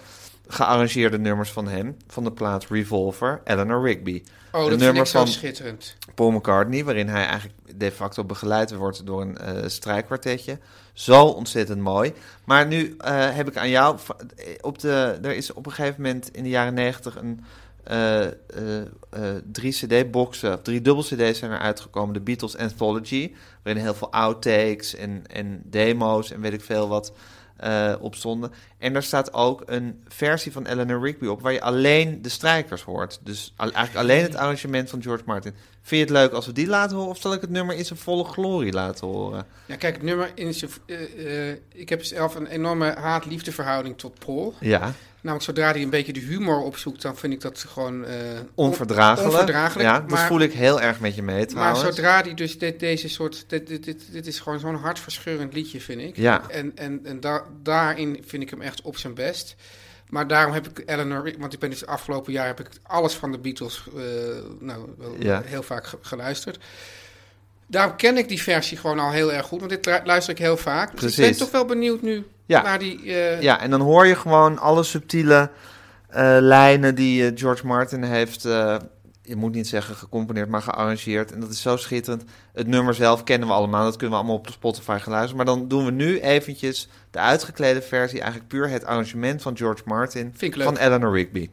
Speaker 2: gearrangeerde nummers van hem... van de plaat Revolver, Eleanor Rigby.
Speaker 3: oh,
Speaker 2: een
Speaker 3: dat vind
Speaker 2: nummer
Speaker 3: ik zo
Speaker 2: van-
Speaker 3: schitterend.
Speaker 2: Paul McCartney, waarin hij eigenlijk de facto begeleid wordt door een eh strijkkwartetje. Zo ontzettend mooi. Maar nu eh, heb ik aan jou. va- eh, Op de, er is op een gegeven moment in de jaren negentig een. eh, eh, eh, drie CD-boxen, drie dubbel CD's zijn er uitgekomen. De Beatles Anthology, waarin heel veel outtakes en, en demo's en weet ik veel wat eh op stonden. En daar staat ook een versie van Eleanor Rigby op, waar je alleen de strijkers hoort. Dus al- eigenlijk alleen het arrangement van George Martin. Vind je het leuk als we die laten horen, of zal ik het nummer in zijn volle glorie laten horen?
Speaker 3: Ja, kijk, het nummer in zijn- eh, eh, ik heb zelf een enorme haat-liefde verhouding tot Paul.
Speaker 2: Ja,
Speaker 3: Namelijk, zodra hij een beetje de humor opzoekt, dan vind ik dat gewoon... eh, on-
Speaker 2: onverdraaglijk.
Speaker 3: Onverdraaglijk,
Speaker 2: Ja, dat
Speaker 3: maar-
Speaker 2: voel ik heel erg met je mee
Speaker 3: Maar
Speaker 2: trouwens.
Speaker 3: zodra hij dus dit, deze soort... Dit, dit, dit, dit is gewoon zo'n hartverscheurend liedje, vind ik.
Speaker 2: Ja.
Speaker 3: En, en, en da- daarin vind ik hem echt op zijn best. Maar daarom heb ik Eleanor... Want ik ben dus afgelopen jaar heb ik alles van de Beatles eh, nou, wel
Speaker 2: Ja.
Speaker 3: heel vaak ge- geluisterd. Daarom ken ik die versie gewoon al heel erg goed. Want dit lu- luister ik heel vaak. Dus
Speaker 2: Precies.
Speaker 3: ik ben toch wel benieuwd nu
Speaker 2: Ja.
Speaker 3: naar die... eh,
Speaker 2: Ja, en dan hoor je gewoon alle subtiele eh, lijnen die eh, George Martin heeft eh, je moet niet zeggen gecomponeerd, maar gearrangeerd. En dat is zo schitterend. Het nummer zelf kennen we allemaal, dat kunnen we allemaal op Spotify gaan luisteren. Maar dan doen we nu eventjes de uitgeklede versie, eigenlijk puur het arrangement van George Martin
Speaker 3: Vind ik leuk.
Speaker 2: van Eleanor Rigby.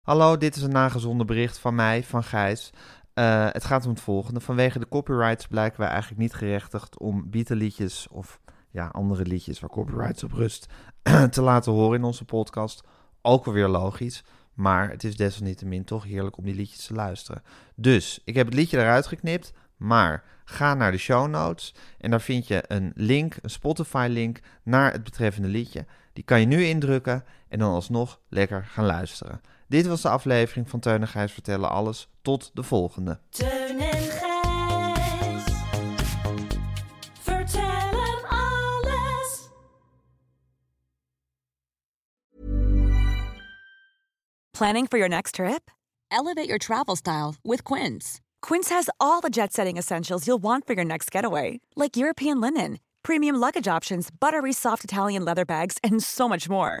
Speaker 2: Hallo, dit is een nagezonden bericht van mij, van Gijs. Eh, het gaat om het volgende. Vanwege de copyrights blijken wij eigenlijk niet gerechtigd om bietenliedjes of ja, andere liedjes waar copyrights op rust te laten horen in onze podcast. Ook alweer logisch, maar het is desalniettemin toch heerlijk om die liedjes te luisteren. Dus, ik heb het liedje eruit geknipt, maar ga naar de show notes en daar vind je een link, een Spotify link naar het betreffende liedje. Die kan je nu indrukken en dan alsnog lekker gaan luisteren. Dit was de aflevering van Teun en Gijs vertellen alles. Tot de volgende.
Speaker 5: Teun en Gijs. Vertel hem alles.
Speaker 8: Planning for your next trip?
Speaker 7: Elevate your travel style with Quince.
Speaker 8: Quince has all the jet setting essentials you'll want for your next getaway, like European linen, premium luggage options, buttery soft Italian leather bags, and so much more.